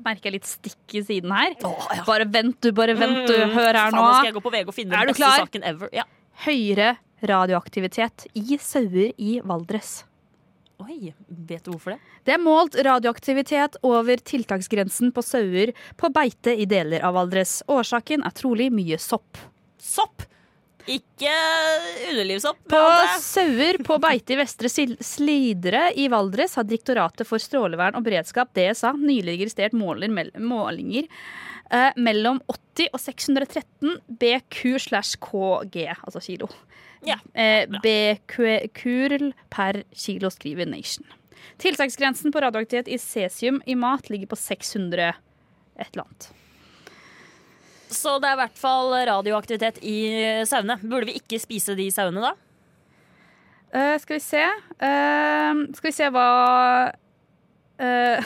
E: Merker jeg litt stikk i siden her.
D: Å, ja.
E: Bare vent, du. Bare vent, du.
D: Mm,
E: Hør her
D: faen,
E: nå.
D: Nå skal jeg gå på VG og finne
E: Er
D: den
E: du
D: beste
E: klar?
D: saken ever. Ja.
E: Høyere radioaktivitet i sauer i Valdres.
D: Oi, vet du hvorfor det?
E: Det er målt radioaktivitet over tiltaksgrensen på sauer på beite i deler av Valdres. Årsaken er trolig mye sopp.
D: Sopp! Ikke underlivssopp.
E: På
D: men alt det-
E: sauer på beite i Vestre Sil- Slidre i Valdres har Direktoratet for strålevern og beredskap, DSA, nylig registrert måler, mel- målinger eh, mellom 80 og 613 BQ slash KG, altså kilo.
D: Ja,
E: Eh, BQ-kurl per kilo, skriver Nation. Tiltaksgrensen på radioaktivitet i cesium i mat ligger på 600 et eller annet.
D: Så det er i hvert fall radioaktivitet i sauene. Burde vi ikke spise de sauene da?
E: Eh, skal vi se Eh, Skal vi se hva eh,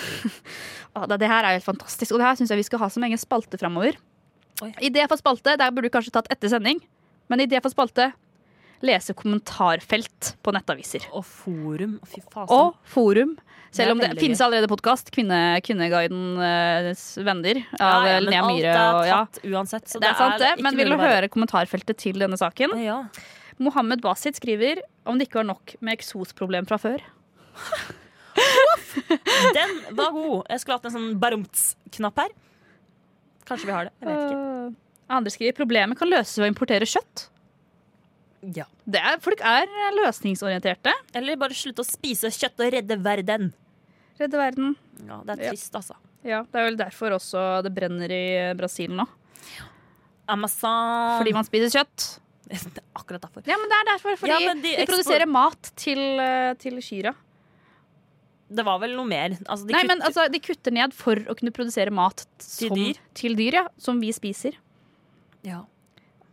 E: ah, det, det her er jo helt fantastisk, og det her syns jeg vi skal ha som egen spalte framover.
D: Oi.
E: Idé for spalte, der burde du kanskje tatt etter sending, men idé for spalte lese kommentarfelt på nettaviser.
D: Og forum. Å, Fy faen.
E: Og forum.
D: Det er
E: Selv om det
D: veldig
E: finnes allerede podkast. Kvinne, Kvinneguidens venner av
D: Ja, ja, men
E: Linnea
D: alt
E: Myhre.
D: er
E: Og, ja.
D: tatt uansett. Så
E: Det er sant, det.
D: ikke
E: Men vil du
D: mulig å bare-
E: høre kommentarfeltet til denne saken?
D: Ja.
E: Mohammed Basit skriver om det ikke var nok med eksosproblem fra før.
D: Den var god. Jeg skulle hatt en sånn barumts-knapp her. Kanskje vi har det. Jeg vet ikke.
E: Øh. Andre skriver problemet kan løses ved å importere kjøtt.
D: Ja.
E: Det er, folk er løsningsorienterte.
D: Eller bare slutte å spise kjøtt og redde verden.
E: Redde verden.
D: Ja, det er
E: Ja.
D: trist, altså.
E: Ja, Det er vel derfor også det brenner i eh, Brasil nå.
D: Amazon.
E: Fordi man spiser kjøtt.
D: Det er Akkurat derfor.
E: Ja, men det er derfor. Fordi
D: Ja, men de
E: de,
D: ekspor-
E: produserer mat til, eh, til kyrne.
D: Det var vel noe mer. Altså, de
E: Nei,
D: kutter-
E: men altså, de kutter ned for å kunne produsere mat t-
D: Til
E: som,
D: dyr?
E: til dyr ja, som vi spiser.
D: ja.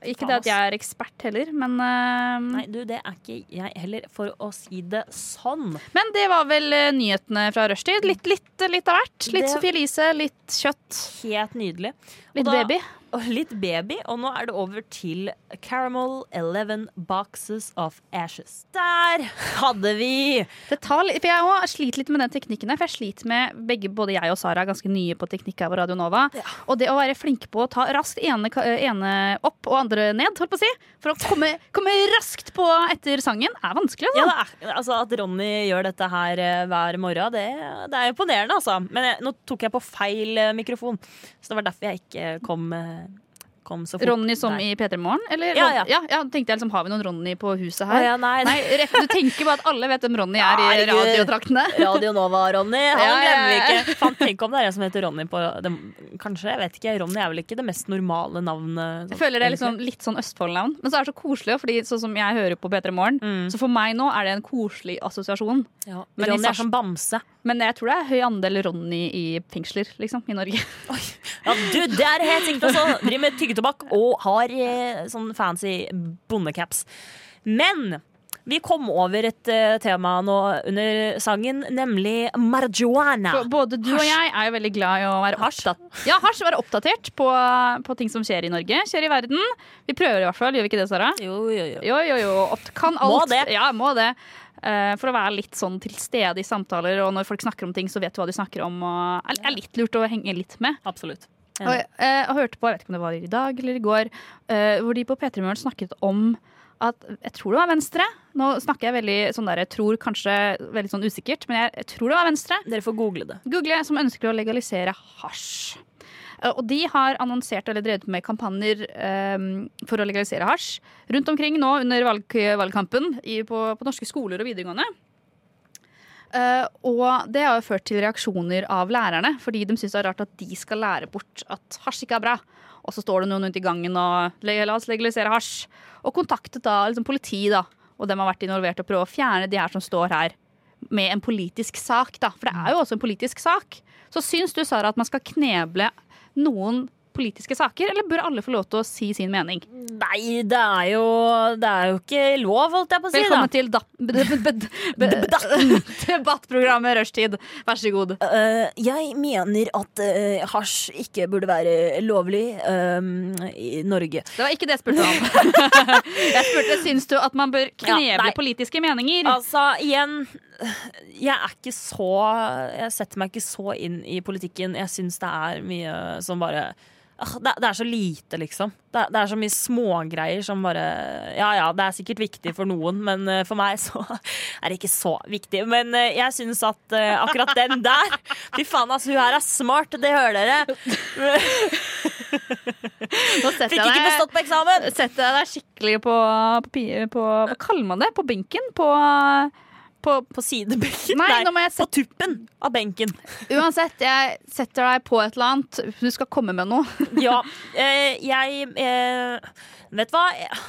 E: Ikke
D: Faen,
E: det at jeg er ekspert heller, men eh,
D: Nei, du, det er ikke jeg heller, for å si det sånn.
E: Men det var vel eh, nyhetene fra rushtid. Litt, litt, litt av hvert. Litt
D: Det-
E: Sophie Elise, litt kjøtt,
D: Helt nydelig.
E: litt
D: da-
E: baby.
D: Og litt baby, og nå er det over til Caramel 11 Boxes of Ashes. Der hadde vi!
E: Det tar litt, for jeg også sliter litt med den teknikken her, for jeg sliter med begge, både jeg og Sara er ganske nye på teknikk her på Radio Nova. Og det å være flinke på å ta raskt ene, ka- ene opp og andre ned, holdt på å si, for å komme, komme raskt på etter sangen, er vanskelig.
D: Ja,
E: Altså.
D: det er, altså At Ronny gjør dette her eh, hver morgen, det, det er imponerende, altså. Men jeg, nå tok jeg på feil eh, mikrofon, så det var derfor jeg ikke kom, eh, kom så fort.
E: Ronny som i P3 Morgen? Eller,
D: Ja, ja.
E: ja, tenkte jeg liksom, har vi noen Ronny på huset
D: Å
E: her?
D: ja, nei.
E: Nei, rett, du tenker bare at alle vet hvem Ronny er i
D: Herregud.
E: radiotraktene.
D: Radio Nova, Ronny. Han
E: Ja, ja,
D: glemmer vi
E: ja.
D: ikke. Faen, tenk om det er en som heter Ronny på det, Kanskje, jeg vet ikke. Ronny er vel ikke det mest normale navnet? sånn,
E: Jeg føler det er
D: egentlig.
E: liksom litt sånn Østfold-navn. Men så er det så koselig, fordi sånn som jeg hører på P3 Morgen,
D: Mm.
E: så for meg nå er det en koselig assosiasjon.
D: ja.
E: Men i
D: Ronny
E: Sars-
D: er som bamse.
E: Men jeg tror det er høy andel Ronny i fengsler, liksom, i Norge.
D: Ja, du, det er helt sikkert også. Driver med tyggetobakk og har eh, sånn fancy bondecaps. Men Vi kom over et eh, tema nå under sangen, nemlig marijuana.
E: For Både du og jeg er jo veldig glad i å være oppdatert, ja, hasj, være oppdatert på, på ting som skjer i Norge, skjer i verden. Vi prøver i hvert fall, gjør vi ikke det, Sara?
D: Jo, jo, jo.
E: Jo, jo, jo. Opp- Kan alt.
D: Må det.
E: Ja, må det. Eh, for å være litt sånn til stede i samtaler, og når folk snakker om ting, så vet du hva de snakker om. Og er, er litt lurt å henge litt med.
D: Absolutt.
E: Og, jeg, eh, og hørte på, jeg vet ikke om det var i dag eller i går, eh, hvor de på P3 Morgen snakket om at Jeg tror det var Venstre. Nå snakker jeg veldig sånn der, jeg tror kanskje veldig sånn usikkert, men jeg, jeg tror det var Venstre.
D: Dere får google det.
E: Google som ønsker å legalisere hasj. Eh, Og de har annonsert eller drevet med kampanjer eh, for å legalisere hasj rundt omkring nå under valg valgkampen i, på, på norske skoler og videregående. Eh, og det har jo ført til reaksjoner av lærerne, fordi de syns det er rart at de skal lære bort at hasj ikke er bra. Og så står det noen rundt i gangen og «Le- la oss legalisere hasj. Og kontaktet da liksom politi, da. Og dem har vært involvert og prøvd å fjerne de her som står her med en politisk sak, da. For det er jo også en politisk sak. Så syns du, Sara, at man skal kneble noen politiske saker, eller bør alle få lov til å si sin mening?
D: Nei, det er jo, det er jo ikke lov, holdt jeg på å si.
E: Velkommen
D: da.
E: til da- be- be- be- debattprogrammet Rushtid. Vær så god.
D: Eh, jeg mener at eh, hasj ikke burde være lovlig eh, i Norge.
E: Det var ikke det jeg spurte om. jeg spurte syns du at man bør
D: Ja,
E: kneble
D: nei.
E: politiske meninger.
D: Altså, igjen Jeg er ikke så Jeg setter meg ikke så inn i politikken. Jeg syns det er mye som bare Ah, det, det er så lite, liksom. Det, er- det er så mye smågreier som bare Ja ja, det er sikkert viktig for noen, men eh, for meg så er det ikke så viktig. Men eh, jeg syns at eh, akkurat den der Fy faen, altså, hun her er smart, det hører dere.
E: Nå setter
D: Fikk ikke
E: jeg deg-
D: bestått på eksamen.
E: setter jeg deg skikkelig på, på, pi- på Hva kaller man det? På benken? På, på
D: På sidebenken.
E: Nei,
D: Nei,
E: nå må jeg
D: på tuppen av benken.
E: Uansett, jeg setter deg på et eller annet. Du skal komme med noe.
D: Ja, eh, jeg eh, Vet hva? Eh,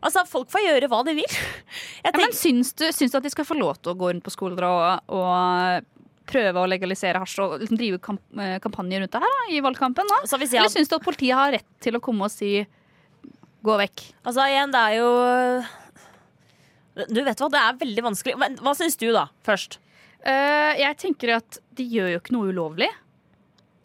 D: Altså, folk får gjøre hva de vil. Jeg
E: Ja, men
D: tenker,
E: syns du, syns du at de skal få lov til å gå rundt på skoler og, og prøve å legalisere hasj og liksom drive kamp eh, kampanje rundt det her da, i valgkampen? da?
D: altså, hvis
E: Eller
D: jeg,
E: syns du at politiet har rett til å komme og si gå vekk?
D: altså, igjen, det er jo Du vet hva, det er veldig vanskelig. Men hva syns du, da? Først.
E: Eh, jeg tenker at de gjør jo ikke noe ulovlig.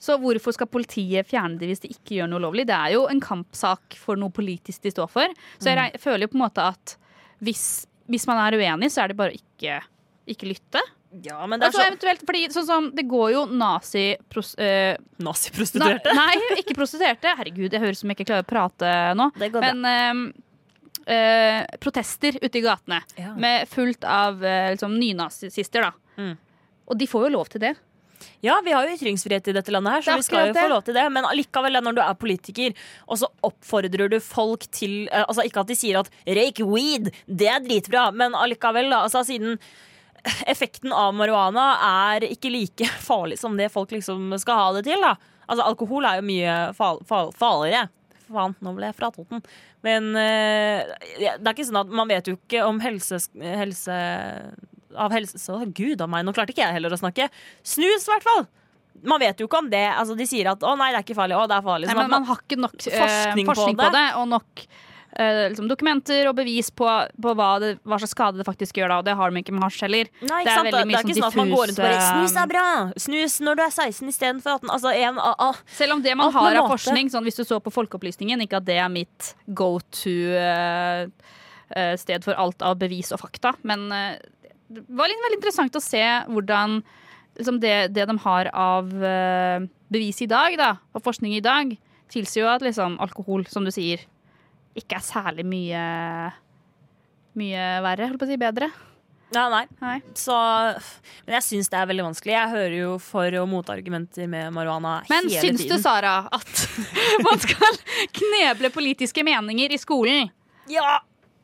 E: Så hvorfor skal politiet fjerne det hvis de ikke gjør noe ulovlig? Det er jo en kampsak for noe politisk de står for. Så jeg reg- føler jo på en måte at hvis, hvis man er uenig, så er det bare å ikke, ikke lytte.
D: Ja, men det er
E: Altså,
D: så
E: eventuelt, fordi sånn som Det går jo nazi... Pros, eh, na-
D: Naziprostituerte.
E: nei, ikke prostituerte. Herregud, jeg høres ut som jeg ikke klarer å prate nå.
D: Det går bra.
E: Men eh, eh, protester ute i gatene
D: Ja.
E: med fullt av eh, liksom, nynazister, da.
D: Mm.
E: Og de får jo lov til det.
D: Ja, vi har jo ytringsfrihet i dette landet her,
E: Det
D: så
E: er
D: vi skal jo
E: akkurat
D: få
E: det.
D: lov til det. Men allikevel, når du er politiker, og så oppfordrer du folk til eh, Altså ikke at de sier at 'røyk weed', det er dritbra, men allikevel, da. Altså siden effekten av marihuana er ikke like farlig som det folk liksom skal ha det til, da. Altså alkohol er jo mye fal fal farligere. Faen, nå ble jeg fra Toten. Men eh, det er ikke sånn at man vet jo ikke om helse, helse Av helse Så gud av meg, nå klarte ikke jeg heller å snakke. Snus, i hvert fall! Man vet jo ikke om det. Altså, de sier at 'å nei, det er ikke farlig', 'å det er farlig'.
E: Nei,
D: Sånn at
E: men man har ikke nok eh,
D: forskning
E: forskning,
D: på
E: på,
D: det.
E: det. og nok eh, liksom dokumenter og bevis på, på hva, det, hva slags skade det faktisk gjør da, og det har de ikke med hasj heller.
D: Nei,
E: Det
D: ikke
E: er
D: sant? Det
E: veldig
D: er,
E: mye
D: det er ikke sånn at man
E: sånn
D: går rundt og bare
E: diffuse,
D: 'snus er bra', snus når du er 16 istedenfor 18. Altså, en, ah, ah.
E: Selv om det man
D: Alt med
E: har av
D: måte.
E: forskning, sånn hvis du så på Folkeopplysningen, ikke at det er mitt go to eh, eh, sted for alt av bevis og fakta, men eh, det var litt, veldig interessant å se hvordan liksom det, det de har av eh, bevis i dag, da, og forskning i dag, tilsier jo at liksom, alkohol, som du sier, ikke er særlig mye mye verre, holdt på å si bedre.
D: Ja, nei.
E: Nei.
D: Så, men jeg syns det er veldig vanskelig. Jeg hører jo for- og motargumenter med marihuana
E: Men
D: hele
E: syns du,
D: tiden.
E: Sara, at man skal kneble politiske meninger i skolen?
D: Ja,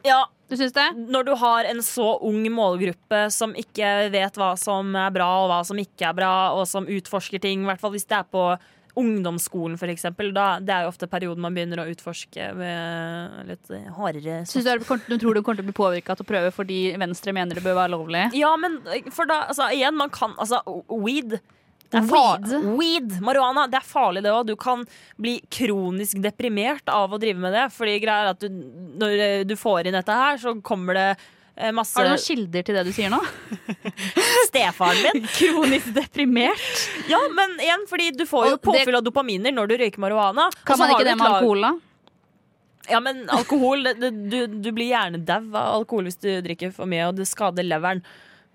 D: ja,
E: Du syns det?
D: når du har en så ung målgruppe som ikke vet hva som er bra og hva som ikke er bra, og som utforsker ting, i hvert fall hvis det er på ungdomsskolen f.eks., da det er jo ofte perioden man begynner å utforske med litt eh, hardere
E: Synes du, er- du tror du kommer til å bli påvirka til å prøve fordi Venstre mener det bør være lovlig?
D: Ja, men for da, altså, igjen, man kan Altså, weed det er
E: Weed?
D: fa- weed, marihuana, det er farlig det òg. Du kan bli kronisk deprimert av å drive med det. Fordi greia er at du, når eh, du får inn dette her, så kommer det eh, masse
E: Har du noen kilder til det du sier nå?
D: stefaren min.
E: Kronisk deprimert.
D: Ja, men igjen, fordi du får jo
E: Og det-
D: påfyll av dopaminer når du røyker marihuana. Og så
E: Kan
D: Altså, har
E: man ikke
D: du
E: det
D: et
E: med
D: lag-
E: alkohol, da?
D: Ja, men alkohol det, det, du, du blir gjerne dau av alkohol hvis du drikker for mye, og det skader leveren.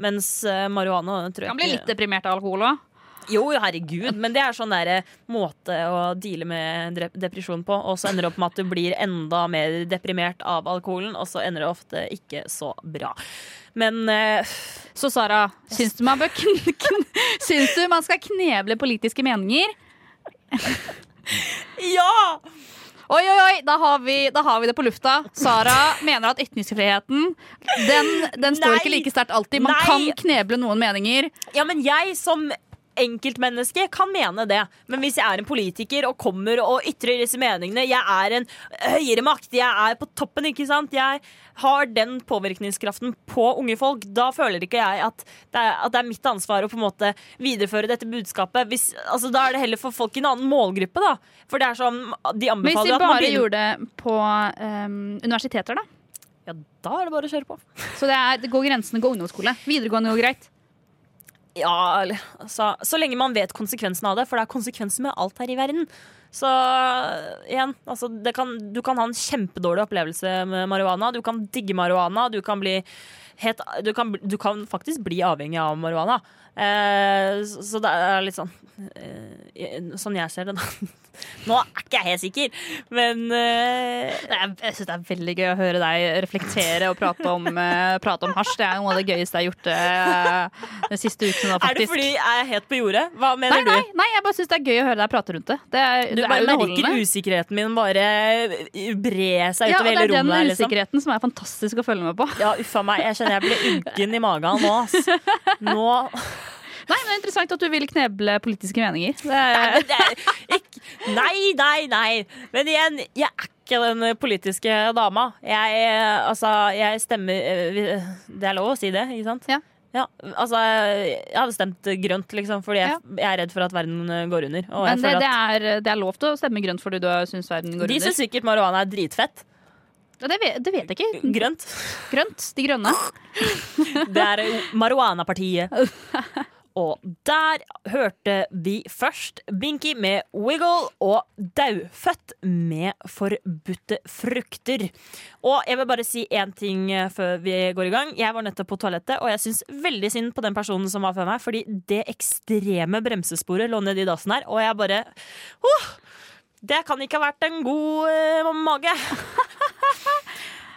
D: Mens eh, marihuana tror jeg
E: Kan bli
D: ikke-
E: litt deprimert av alkohol òg.
D: Jo, herregud, men det er sånn der eh, måte å deale med dre- depresjon på. Og så ender det opp med at du blir enda mer deprimert av alkoholen, og så ender det ofte ikke så bra. Men eh,
E: Så Sara, syns du man bør kn kn Syns du man skal kneble politiske meninger?
D: ja!
E: Oi, oi, oi, da har vi, da har vi det på lufta. Sara mener at ytringsfriheten den, den står
D: Nei.
E: ikke like sterkt alltid. Man
D: Nei.
E: kan kneble noen meninger.
D: Ja, men jeg som enkeltmenneske kan mene det. Men hvis jeg er en politiker og kommer og ytrer disse meningene Jeg er en høyere makt, jeg er på toppen, ikke sant? Jeg har den påvirkningskraften på unge folk. Da føler ikke jeg at det er, at det er mitt ansvar å på en måte videreføre dette budskapet. Hvis, altså, da er det heller for folk i en annen målgruppe, da. For det er sånn De
E: Men hvis
D: anbefaler jo
E: vi
D: at man
E: bare
D: begynner
E: gjorde det på ehm, universiteter, da.
D: Ja, da er det bare å kjøre på.
E: Så det, er, det går grensen går ungdomsskole. Videregående går greit.
D: Ja, eller, altså, så lenge man vet konsekvensen av det, for det er konsekvenser med alt her i verden. Så igjen, altså, det kan, du kan ha en kjempedårlig opplevelse med marihuana. Du kan digge marihuana, du kan, bli helt, du kan, bli- du kan faktisk bli avhengig av marihuana. Eh, så, så det er litt sånn eh, Sånn jeg ser det, da. Nå er ikke jeg helt sikker, men eh,
E: Jeg, jeg syns det er veldig gøy å høre deg reflektere og prate om, eh, prate om hasj. Det er noe av det gøyeste jeg har gjort eh, den siste uken nå,
D: Er det
E: faktisk.
D: fordi jeg er helt på jordet? Hva mener
E: Nei,
D: du?
E: nei, nei, jeg bare syns det er gøy å høre deg prate rundt det. Det er,
D: Du
E: det er
D: bare merker
E: underholdende.
D: usikkerheten min bare bre seg
E: Ja,
D: utover
E: og det
D: hele
E: er den
D: rommet. her, liksom.
E: usikkerheten som er fantastisk å følge med på.
D: Ja, uffa meg. Jeg kjenner jeg blir uggen i magen nå. Ass. nå.
E: Nei, men det er Interessant at du vil kneble politiske meninger. Det
D: Nei, men det
E: er,
D: er ikke, nei, nei, nei. Men igjen, jeg er ikke den politiske dama. Jeg, eh, altså, jeg stemmer eh, vi- Det er lov å si det, ikke sant?
E: Ja.
D: altså, jeg hadde stemt grønt, liksom, fordi jeg, jeg er redd for at verden eh, går under. Og jeg
E: men det,
D: føler
E: det,
D: at
E: er, det er lov til å stemme grønt fordi du syns verden går
D: de
E: under.
D: syns sikkert marihuana er dritfett.
E: Ja, det, vet, det vet jeg ikke.
D: Grønt.
E: Grønt. De grønne.
D: Det er jo Marihuana-partiet. Og der hørte vi først Binky med Wiggle og Daufødt med Forbudte frukter. Og jeg vil bare si én ting eh, før vi går i gang. Jeg var nettopp på toalettet, og jeg syns veldig synd på den personen som var før meg, fordi det ekstreme bremsesporet lå nedi dassen her, og jeg bare «Åh, Det kan ikke ha vært en god eh, mage.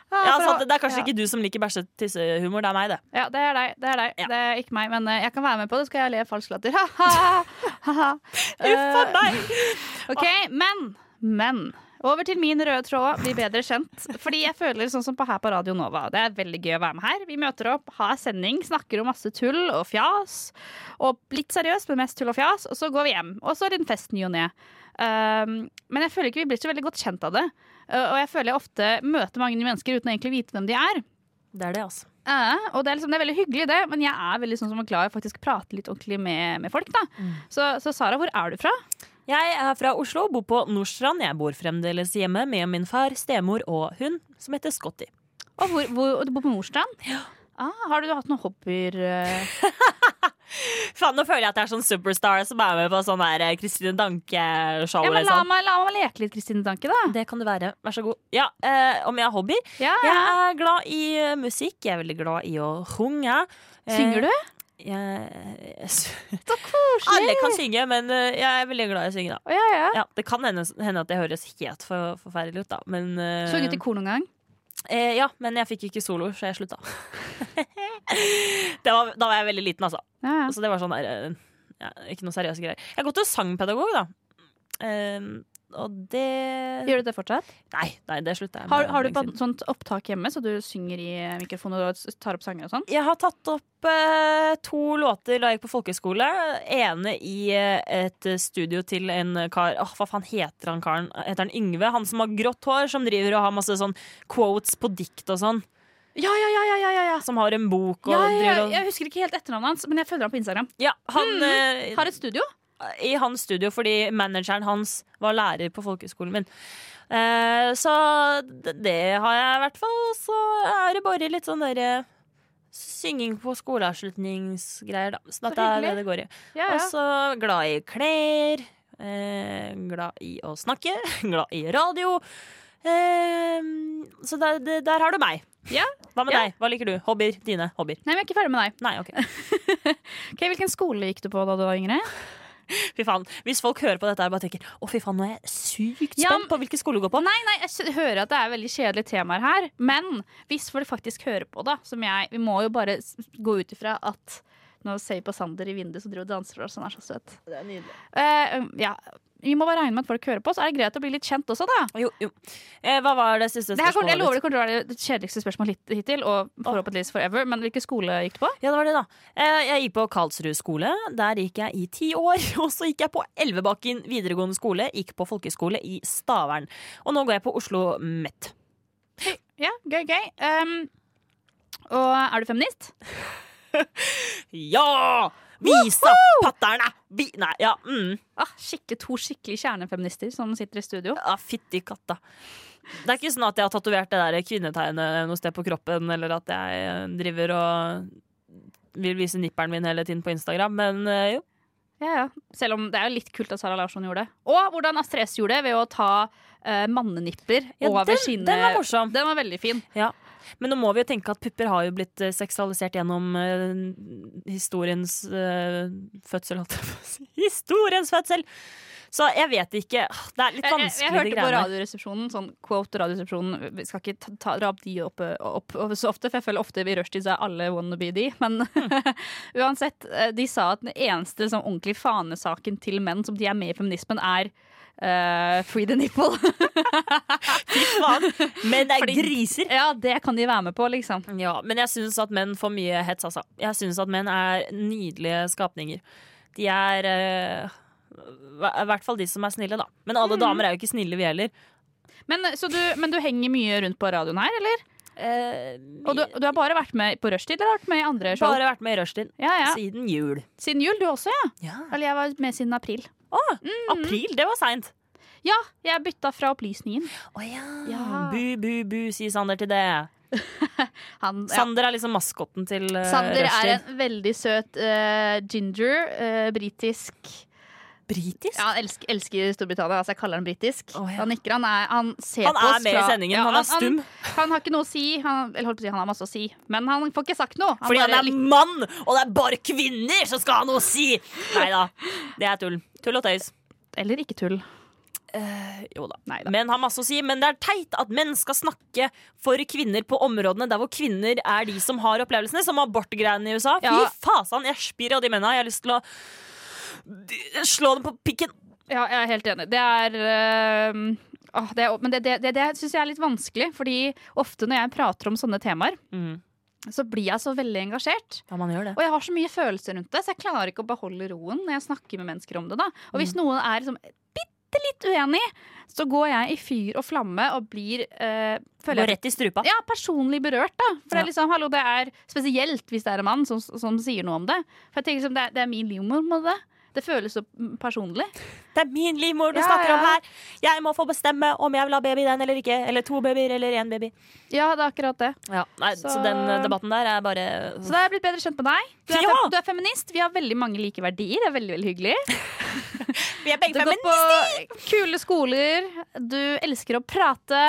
D: Ja,
F: for
D: så
F: å-
D: det er kanskje
F: ja.
D: ikke du som liker bæsje-tissehumor, det er meg, det.
F: Ja, det er deg. Det er deg.
D: Ja.
F: Det er ikke meg, men eh, jeg kan være med på det. Skal jeg le falsk latter? Ha-ha!
D: Uff a meg!
F: OK, men, men. Over til min røde tråd, bli bedre kjent. Fordi jeg føler sånn som på her på Radio Nova. Det er veldig gøy å være med her. Vi møter opp, har sending, snakker om masse tull og fjas. Og litt seriøst, men mest tull og fjas. Og så går vi hjem. Og så er det en fest ny og ne. Um, men jeg føler ikke vi blir så veldig godt kjent av det. Uh, og jeg føler jeg ofte møter mange nye mennesker uten egentlig å vite hvem de er.
D: Det er det, altså.
F: Ja, og det er, liksom, det er veldig hyggelig, det, men jeg er veldig sånn som er glad i å faktisk prate litt ordentlig med, med folk. da.
D: Mm.
F: Så, så Sara, hvor er du fra?
D: Jeg er fra Oslo, bor på Nordstrand. Jeg bor fremdeles hjemme med min far, stemor og hun som heter Scotty.
F: Og, hvor, hvor, og du bor på Nordstrand? Ah, har du hatt noen hobbyer? eh?
D: Faen, nå føler jeg at jeg er sånn superstar som er med på sånn der eh, Christine Danke-show.
F: Ja, men la,
D: liksom.
F: meg, la meg leke litt, Kristine Danke, da.
D: Det kan du være. Vær så god. Ja, eh, Om jeg har hobbyer?
F: Ja.
D: Jeg er glad i eh, musikk. Jeg er veldig glad i å synge. Eh,
F: Synger
D: Ah,
F: du?
D: Så koselig! Alle kan synge, men eh, jeg er veldig glad i å synge. da
F: Å, ja, ja.
D: ja, Det kan hende, hende at det høres helt for, forferdelig ut, da. Men, eh,
F: Sunget i kor noen gang?
D: Eh, ja, men jeg fikk ikke solo, så jeg slutta. det var, da var jeg veldig liten, altså.
F: Ja, ja.
D: Så det var sånn der, eh, ja, Ikke noe seriøse greier. Jeg har gått til sangpedagog, da. Eh, og det
F: Gjør du det fortsatt?
D: Nei, nei det slutta jeg med.
F: Har, har du
D: lenge
F: på
D: siden.
F: sånt opptak hjemme, så du synger i mikrofon og tar opp sanger og sånn?
D: Jeg har tatt opp eh, to låter da jeg gikk på folkehøyskole. Ene i eh, et studio til en kar Åh, Hva faen heter han karen? Heter han Yngve? Han som har grått hår, som driver og har masse sånn quotes på dikt og sånn.
F: Ja, ja, ja! ja, ja, ja, ja.
D: Som har en bok og
F: Ja, ja,
D: driver
F: ja.
D: og
F: Jeg husker ikke helt etternavnet hans, men jeg følger ham på Instagram.
D: Ja, han eh,
F: Mm. Har et studio.
D: i hans studio fordi manageren hans var lærer på folkehøyskolen min. Eh, så d- det har jeg i hvert fall. Så er det bare litt sånn derre synging på skoleavslutningsgreier, da. Så dette er
F: hyggelig.
D: det det går i.
F: Ja,
D: Og
F: ja.
D: så glad i klær. Eh, glad i å snakke. Glad i radio. Eh, så der, det- der har du meg.
E: Ja,
D: Hva med
E: ja.
D: deg? Hva liker du? Hobbyer? Dine hobbyer?
E: Nei, men jeg er ikke ferdig med deg.
D: Nei, OK.
E: Ok, Hvilken skole gikk du på da du var yngre?
D: Fy faen. Hvis folk hører på dette her og bare tenker å fy faen, nå er jeg sykt
E: Ja,
D: spent på hvilken skole du går på.
E: Nei, nei, jeg skj- hører at det er veldig kjedelige temaer her, men hvis folk faktisk hører på, da, som jeg Vi må jo bare s- gå ut ifra at nå ser vi på Sander i vinduet som driver og danser og sånn, er så søt. Det er nydelig. ja. Vi må bare regne med at folk hører på, så er det greit å bli litt kjent også, da.
D: Jo, jo. Eh, hva var det siste
E: Det her kommer, jeg
D: spørsmålet?
E: lover det kommer til å være det kjedeligste spørsmålet hit- hittil, og forhåpentligvis forever, men hvilken skole gikk du på?
D: Ja, det var det, da. Eh, Jeg gikk på Karlsrud skole. Der gikk jeg i ti år. Og så gikk jeg på Elvebakken videregående skole. Gikk på folkeskole i Stavern. Og nå går jeg på Oslo Met.
E: Ja, gøy, gøy. Um, og er du feminist?
D: Ja! Visa patterne! Vi nei, ja. Mm.
E: Ah, skikke, to skikkelig kjernefeminister som sitter i studio.
D: ja Fytti katta. Det er ikke sånn at jeg har tatovert det der kvinnetegnet noe sted på kroppen, eller at jeg eh, driver og vil vise nipperen min hele tiden på Instagram, men eh, jo.
E: Ja, ja. Selv om det er jo litt kult at Sara Larsson gjorde det. Og hvordan Astrid S gjorde det ved å ta eh, mannenipper
D: Ja,
E: over
D: den,
E: sine
D: den var morsom.
E: Den var veldig fin.
D: Men nå må vi jo tenke at pupper har jo blitt eh, seksualisert gjennom eh, historiens eh, fødsel, holdt jeg på å si. Historiens fødsel! Så jeg vet ikke. Ah, Det er litt
E: Jeg, jeg,
D: vanskelig,
E: jeg
D: de
E: hørte på
D: greiene.
E: Radioresepsjonen, sånn quote Radioresepsjonen Vi skal ikke ta, ta, dra opp de opp, eh, opp, opp så ofte, for jeg føler ofte i rushtid så er alle wannabe de. Men uansett, eh, de sa at den eneste liksom, ordentlig fanesaken til menn som de er med i feminismen, er eh, free the nipple.
D: Faen. Men det er
E: Fordi-
D: griser!
E: ja, det kan de være med på, liksom.
D: Ja, men jeg syns at menn får mye hets, altså. Jeg syns at menn er nydelige skapninger. De er eh, hva- I hvert fall de som er snille, da. Men
E: Mm.
D: alle damer er jo ikke snille, vi heller.
E: Men, så du, men du henger mye rundt på radioen her, eller? Og du, og du har bare vært med på rushtid, eller har du vært med i andre show?
D: Bare vært med i rushtid
E: Ja, ja.
D: siden jul.
E: Siden jul, du også, ja.
D: Ja.
E: Eller jeg var med siden april.
D: Mm. April, det var seint.
E: Ja, jeg bytta fra opplysningen.
D: Å ja.
E: Ja.
D: Bu, bu, bu, sier Sander til det.
E: Han, ja. Øh,
D: Sander er liksom maskotten til uh,
E: Sander er
D: Rushdie.
E: en veldig søt eh, ginger, eh, britisk
D: britisk?
E: Ja, han elsker, elsker Storbritannia, altså jeg kaller han britisk.
D: Å, ja.
E: Han nikker, han er Han, ser
D: Han
E: på
D: er
E: oss
D: med i
E: fra-
D: sendingen, han er stum.
E: Han, han har ikke noe å si, han, eller holdt på å si, han har masse å si, men han får ikke sagt noe. Han
D: Fordi han
E: bare
D: er mann, og det er bare kvinner som skal ha noe å si! Nei da, det er tull. Tull og tøys.
E: lik- Eller ikke tull.
D: Eh, Jo da.
E: Neida.
D: Menn har masse å si, men det er teit at menn skal snakke for kvinner på områdene der hvor kvinner er de som har opplevelsene, som abortgreiene i USA.
E: Ja.
D: Fy fasan, jeg spyr av de mennene. Jeg har lyst til å d- slå dem på pikken.
E: Ja, jeg er helt enig. Det er øhm, åh, det, er- men det, det, det, det syns jeg er litt vanskelig, fordi ofte når jeg prater om sånne temaer,
D: Mm.
E: så blir jeg så veldig engasjert.
D: Ja, man gjør det.
E: Og jeg har så mye følelser rundt det, så jeg klarer ikke å beholde roen når jeg snakker med mennesker om det. da. Og hvis noen er liksom bitte litt uenig, så går jeg i fyr og flamme og blir øh, føler
D: Gå
E: jeg-
D: rett i strupa.
E: ja, personlig berørt, da. For
D: Ja.
E: det er liksom, hallo, det er spesielt hvis det er en mann som, som sier noe om det. For jeg tenker liksom, det er, det er min livmor med det. Det føles så personlig.
D: Det er min livmor du
E: Ja,
D: snakker om
E: ja.
D: her. Jeg må få bestemme om jeg vil ha baby i den eller ikke. Eller to babyer eller én baby.
E: Ja, det er akkurat det.
D: Nei, så...
E: Så-
D: den eh, debatten der er bare
E: Så da har jeg blitt bedre kjent med deg. Du er,
D: Ja!
E: fem, du er feminist. Vi har veldig mange like verdier. Det er veldig, veldig hyggelig.
D: Vi er begge
E: Du går på kule skoler. Du elsker å prate.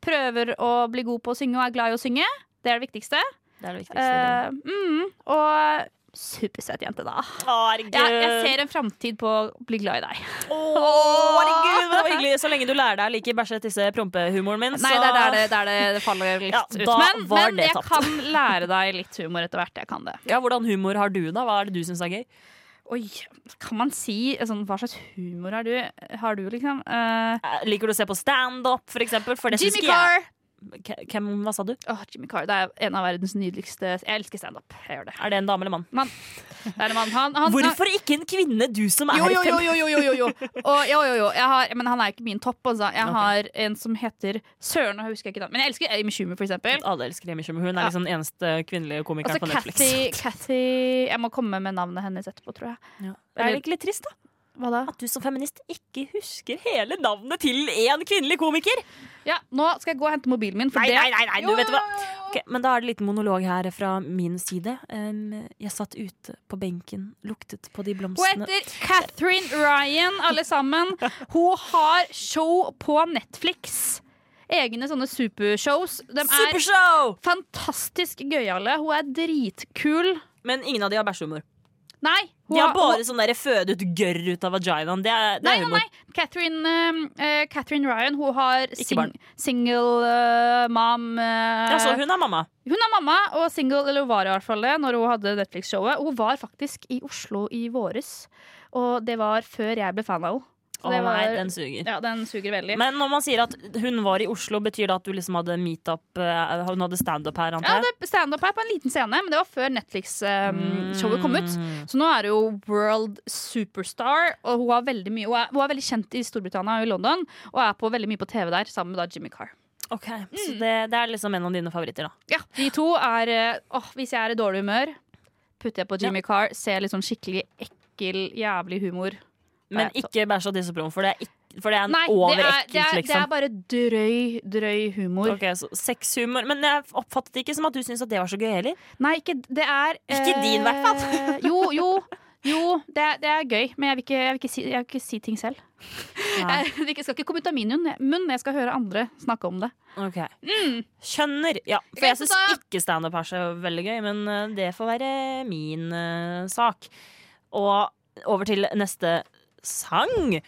E: Prøver å bli god på å synge og er glad i å synge. Det er det viktigste.
D: Det er det viktigste.
E: Eh, mm, og supersøt jente, da.
D: Å, herregud.
E: Jeg, jeg ser en framtid på å bli glad i deg.
D: Å, herregud, men det var hyggelig. Så lenge du lærer deg å like bæsje tisse prompehumoren min,
E: Nei,
D: så
E: det er der det, der det- det faller litt
D: Ja,
E: ut.
D: da
E: Men,
D: var
E: men
D: det
E: jeg
D: tapt.
E: kan lære deg litt humor etter hvert. Jeg kan det.
D: Ja, Hvordan humor har du, da? Hva er det du syns er gøy?
E: Oi, kan man si sånn, Hva slags humor har du, har du liksom? Eh,
D: Eh, Liker du å se på standup, for eksempel? For det syns ikke jeg.
E: Jimmy Carr!
D: K- Hvem, hva sa du?
E: Åh, Jimmy Carr, Det er en av verdens nydeligste Jeg elsker standup. Jeg gjør det.
D: Er det en dame eller mann?
E: det er en mann. Han, han,
D: Hvorfor ikke en kvinne, du som
E: Han,
D: er
E: jo, jo, jo, jo, jo, jo, jo, jo. Og, jo, jo, jo. Jeg har, men han er ikke min topp. Altså. Jeg
D: Ok.
E: har en som heter Søren, og jeg husker ikke navnet. Men jeg elsker Amy Schumer, for eksempel.
D: Alle elsker Amy Schumer. Hun er
E: Ja.
D: liksom den eneste kvinnelige komikeren
E: Altså
D: på Netflix.
E: Cathy, Cathy Jeg må komme med navnet hennes etterpå, tror jeg.
D: Ja. Det er det ikke litt trist, da?
E: Hva da?
D: At du som feminist ikke husker hele navnet til én kvinnelig komiker!
E: Ja, nå skal jeg gå og hente mobilen min, for
D: Nei,
E: det
D: nei, nei, nei du vet hva Ok, Men da er det en liten monolog her fra min side. Um, jeg satt ute på benken, luktet på de
E: Hun
D: blomstene
E: heter Catherine Ryan, alle sammen. Hun har show på Netflix. Egne sånne supershows. De er
D: Supershow!
E: fantastisk gøyale. Hun er dritkul.
D: Men ingen av de har bæsjehumor.
E: Nei, hun
D: De har
E: har-
D: bare sånn der føde ut gørr ut av vaginaen. Det er, det
E: Nei,
D: er
E: nei,
D: humor.
E: nei. Catherine, eh, eh, Catherine Ryan hun har
D: barn.
E: sing single eh, mom eh,
D: Ja, så hun er mamma.
E: Hun er mamma og single, eller hun var i hvert fall det, når hun hadde Netflix-showet. Hun var faktisk i Oslo i våres, og det var før jeg ble fan av henne. Så
D: Å
E: det var-
D: nei, den suger.
E: Ja, den suger veldig.
D: Men når man sier at hun var i Oslo, betyr det at du liksom hadde meetup eh, Hun hadde standup her,
E: ja,
D: antar jeg?
E: det er standup her på en liten scene, men det var før Netflix-showet um, kom ut.
D: Mm.
E: Så nå er det jo world superstar, og hun er veldig, mye, hun er, hun er veldig kjent i Storbritannia og i London. Og er på veldig mye på TV der, sammen med da Jimmy Carr.
D: Ok,
E: Mm.
D: Så det, det er liksom en av dine favoritter, da.
E: Ja, De to er eh, åh, Hvis jeg er i dårlig humør, putter jeg på Jimmy Carr, ser litt sånn skikkelig ekkel, jævlig humor.
D: Men
E: Nei, så-
D: ikke bæsj og tissepromo, for, det er ikk- for det er en
E: Nei, det er, det,
D: overekkelt,
E: er, det er
D: liksom.
E: bare drøy, drøy humor.
D: Ok, så Sexhumor. Men jeg oppfattet det ikke som at du syntes at det var så gøy heller.
E: Nei, ikke Det er
D: Ikke din, i hvert fall.
E: eh, Jo, jo. Jo, det er, det er gøy, men jeg vil ikke, jeg vil ikke, si, jeg vil ikke si ting selv.
D: Nei.
E: Jeg, det skal ikke komme ut av min munn, jeg skal høre andre snakke om det.
D: Ok mm. Skjønner. Ja, for
E: Ok,
D: jeg
E: så
D: syns ikke standup er så veldig gøy, men eh, det får være min eh, sak. Og over til neste sang.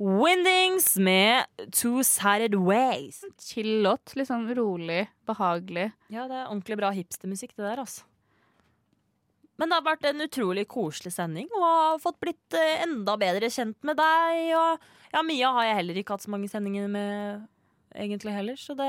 D: Windings med Two Sided Ways.
E: Chill låt. Litt sånn rolig, behagelig.
D: Ja, det er ordentlig bra hipstermusikk, det der, altså. Men det har vært en utrolig koselig sending, og har fått blitt eh, enda bedre kjent med deg. Og ja, Mia har jeg heller ikke hatt så mange sendinger med, egentlig heller, så det,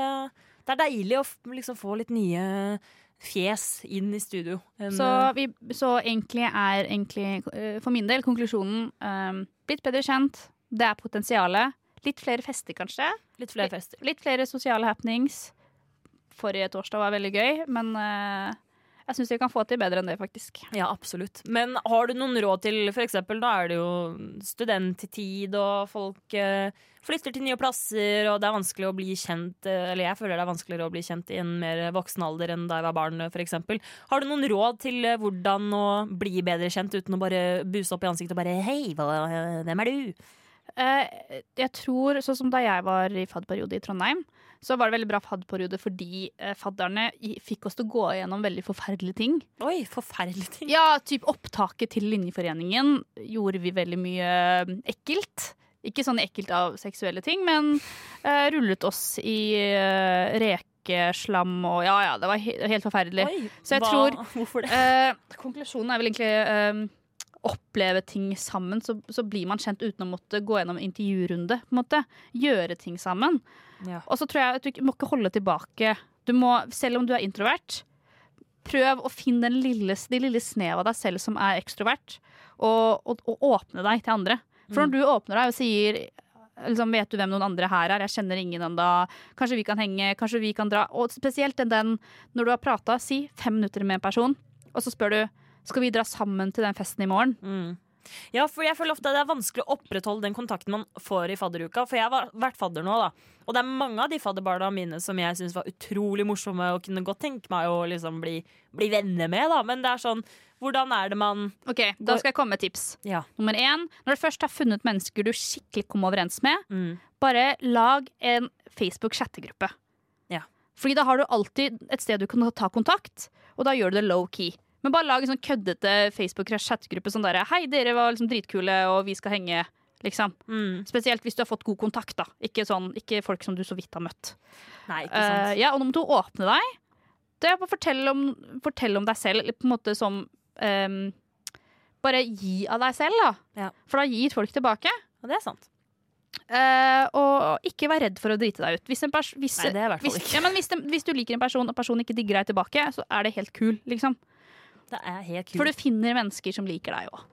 D: det er deilig å f- liksom få litt nye fjes inn i studio. eh, En,
E: Så, vi, så egentlig er egentlig, eh, for min del, konklusjonen eh, blitt bedre kjent. Det er potensialet. Litt flere fester, kanskje.
D: eh, litt flere fester.
E: Litt flere sosiale happenings. Forrige torsdag var veldig gøy, men eh, jeg syns vi kan få til bedre enn det, faktisk.
D: Ja, absolutt. Men har du noen råd til for eksempel, da er det jo studenttid, og folk eh, flytter til nye plasser, og det er vanskelig å bli kjent eh, Eller jeg føler det er vanskeligere å bli kjent i en mer voksen alder enn da jeg var barn, eh, for eksempel. Har du noen råd til eh, hvordan å bli bedre kjent uten å bare buse opp i ansiktet og bare Hei, hva, hvem er du?
E: Eh, jeg tror, sånn som da jeg var i fadperiode i Trondheim, så var det veldig bra fadperiode fordi eh, fadderne i- fikk oss til å gå gjennom veldig forferdelige ting.
D: Oi, forferdelige ting.
E: Ja, typ opptaket til linjeforeningen gjorde vi veldig mye eh, ekkelt. Ikke sånn ekkelt av seksuelle ting, men eh, rullet oss i eh, rekeslam og ja ja, det var he helt forferdelig.
D: Oi,
E: Så jeg
D: hva,
E: tror-
D: Hvorfor det?
E: Eh, konklusjonen er vel egentlig eh, oppleve ting sammen, så, så blir man kjent uten å måtte gå gjennom intervjurunde. på en måte. Gjøre ting sammen.
D: Ja.
E: Og så tror jeg at du ikke- må ikke holde tilbake. Du må, selv om du er introvert, prøv å finne den lille, de lille snev av deg selv som er ekstrovert, og, og, og åpne deg til andre. For når du åpner deg og sier liksom, Vet du hvem noen andre her er? Jeg kjenner ingen ennå. Kanskje vi kan henge? Kanskje vi kan dra? Og spesielt den, den når du har prata, si fem minutter med en person, og så spør du skal vi dra sammen til den festen i morgen.
D: Mm. Ja, for jeg føler ofte at det er vanskelig å opprettholde den kontakten man får i fadderuka. For jeg har vært fadder nå, da. Og det er mange av de fadderbarna mine som jeg syns var utrolig morsomme og kunne godt tenke meg å liksom bli, bli venner med, da. Men det er sånn, hvordan er det man
E: Ok, Da skal jeg komme med tips.
D: Ja.
E: Nummer én, når du først har funnet mennesker du skikkelig kom overens med,
D: Mm.
E: bare lag en Facebook-chattegruppe.
D: Ja.
E: Fordi da har du alltid et sted du kan ta kontakt, og da gjør du det low-key. Men bare lag en sånn køddete Facebook-chattegruppe sånn derre Hei, dere var liksom dritkule, og vi skal henge, liksom.
D: Mm.
E: Spesielt hvis du har fått god kontakt, da. Ikke, sånn, ikke folk som du så vidt har møtt.
D: Nei, ikke sant.
E: Eh, ja, og nå må du åpne deg. Det er bare å fortelle om, fortelle om deg selv eller på en måte som ehm, Bare gi av deg selv, da.
D: Ja.
E: For da gir folk tilbake.
D: Og det er sant.
E: Eh, og ikke vær redd for å drite deg ut. Hvis, en pers hvis,
D: Nei, det er i hvert fall
E: hvis,
D: ikke.
E: ja, men hvis, den- hvis du liker en person, og personen ikke digger deg tilbake, så er det helt kul, liksom.
D: Det er helt kult.
E: For du finner mennesker som liker deg òg.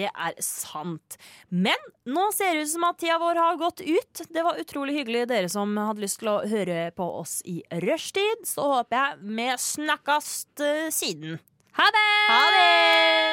D: Det er sant. Men nå ser det ut som at tida vår har gått ut. Det var utrolig hyggelig dere som hadde lyst til å høre på oss i rushtid. Så håper jeg vi snakkast eh, siden. Ha det!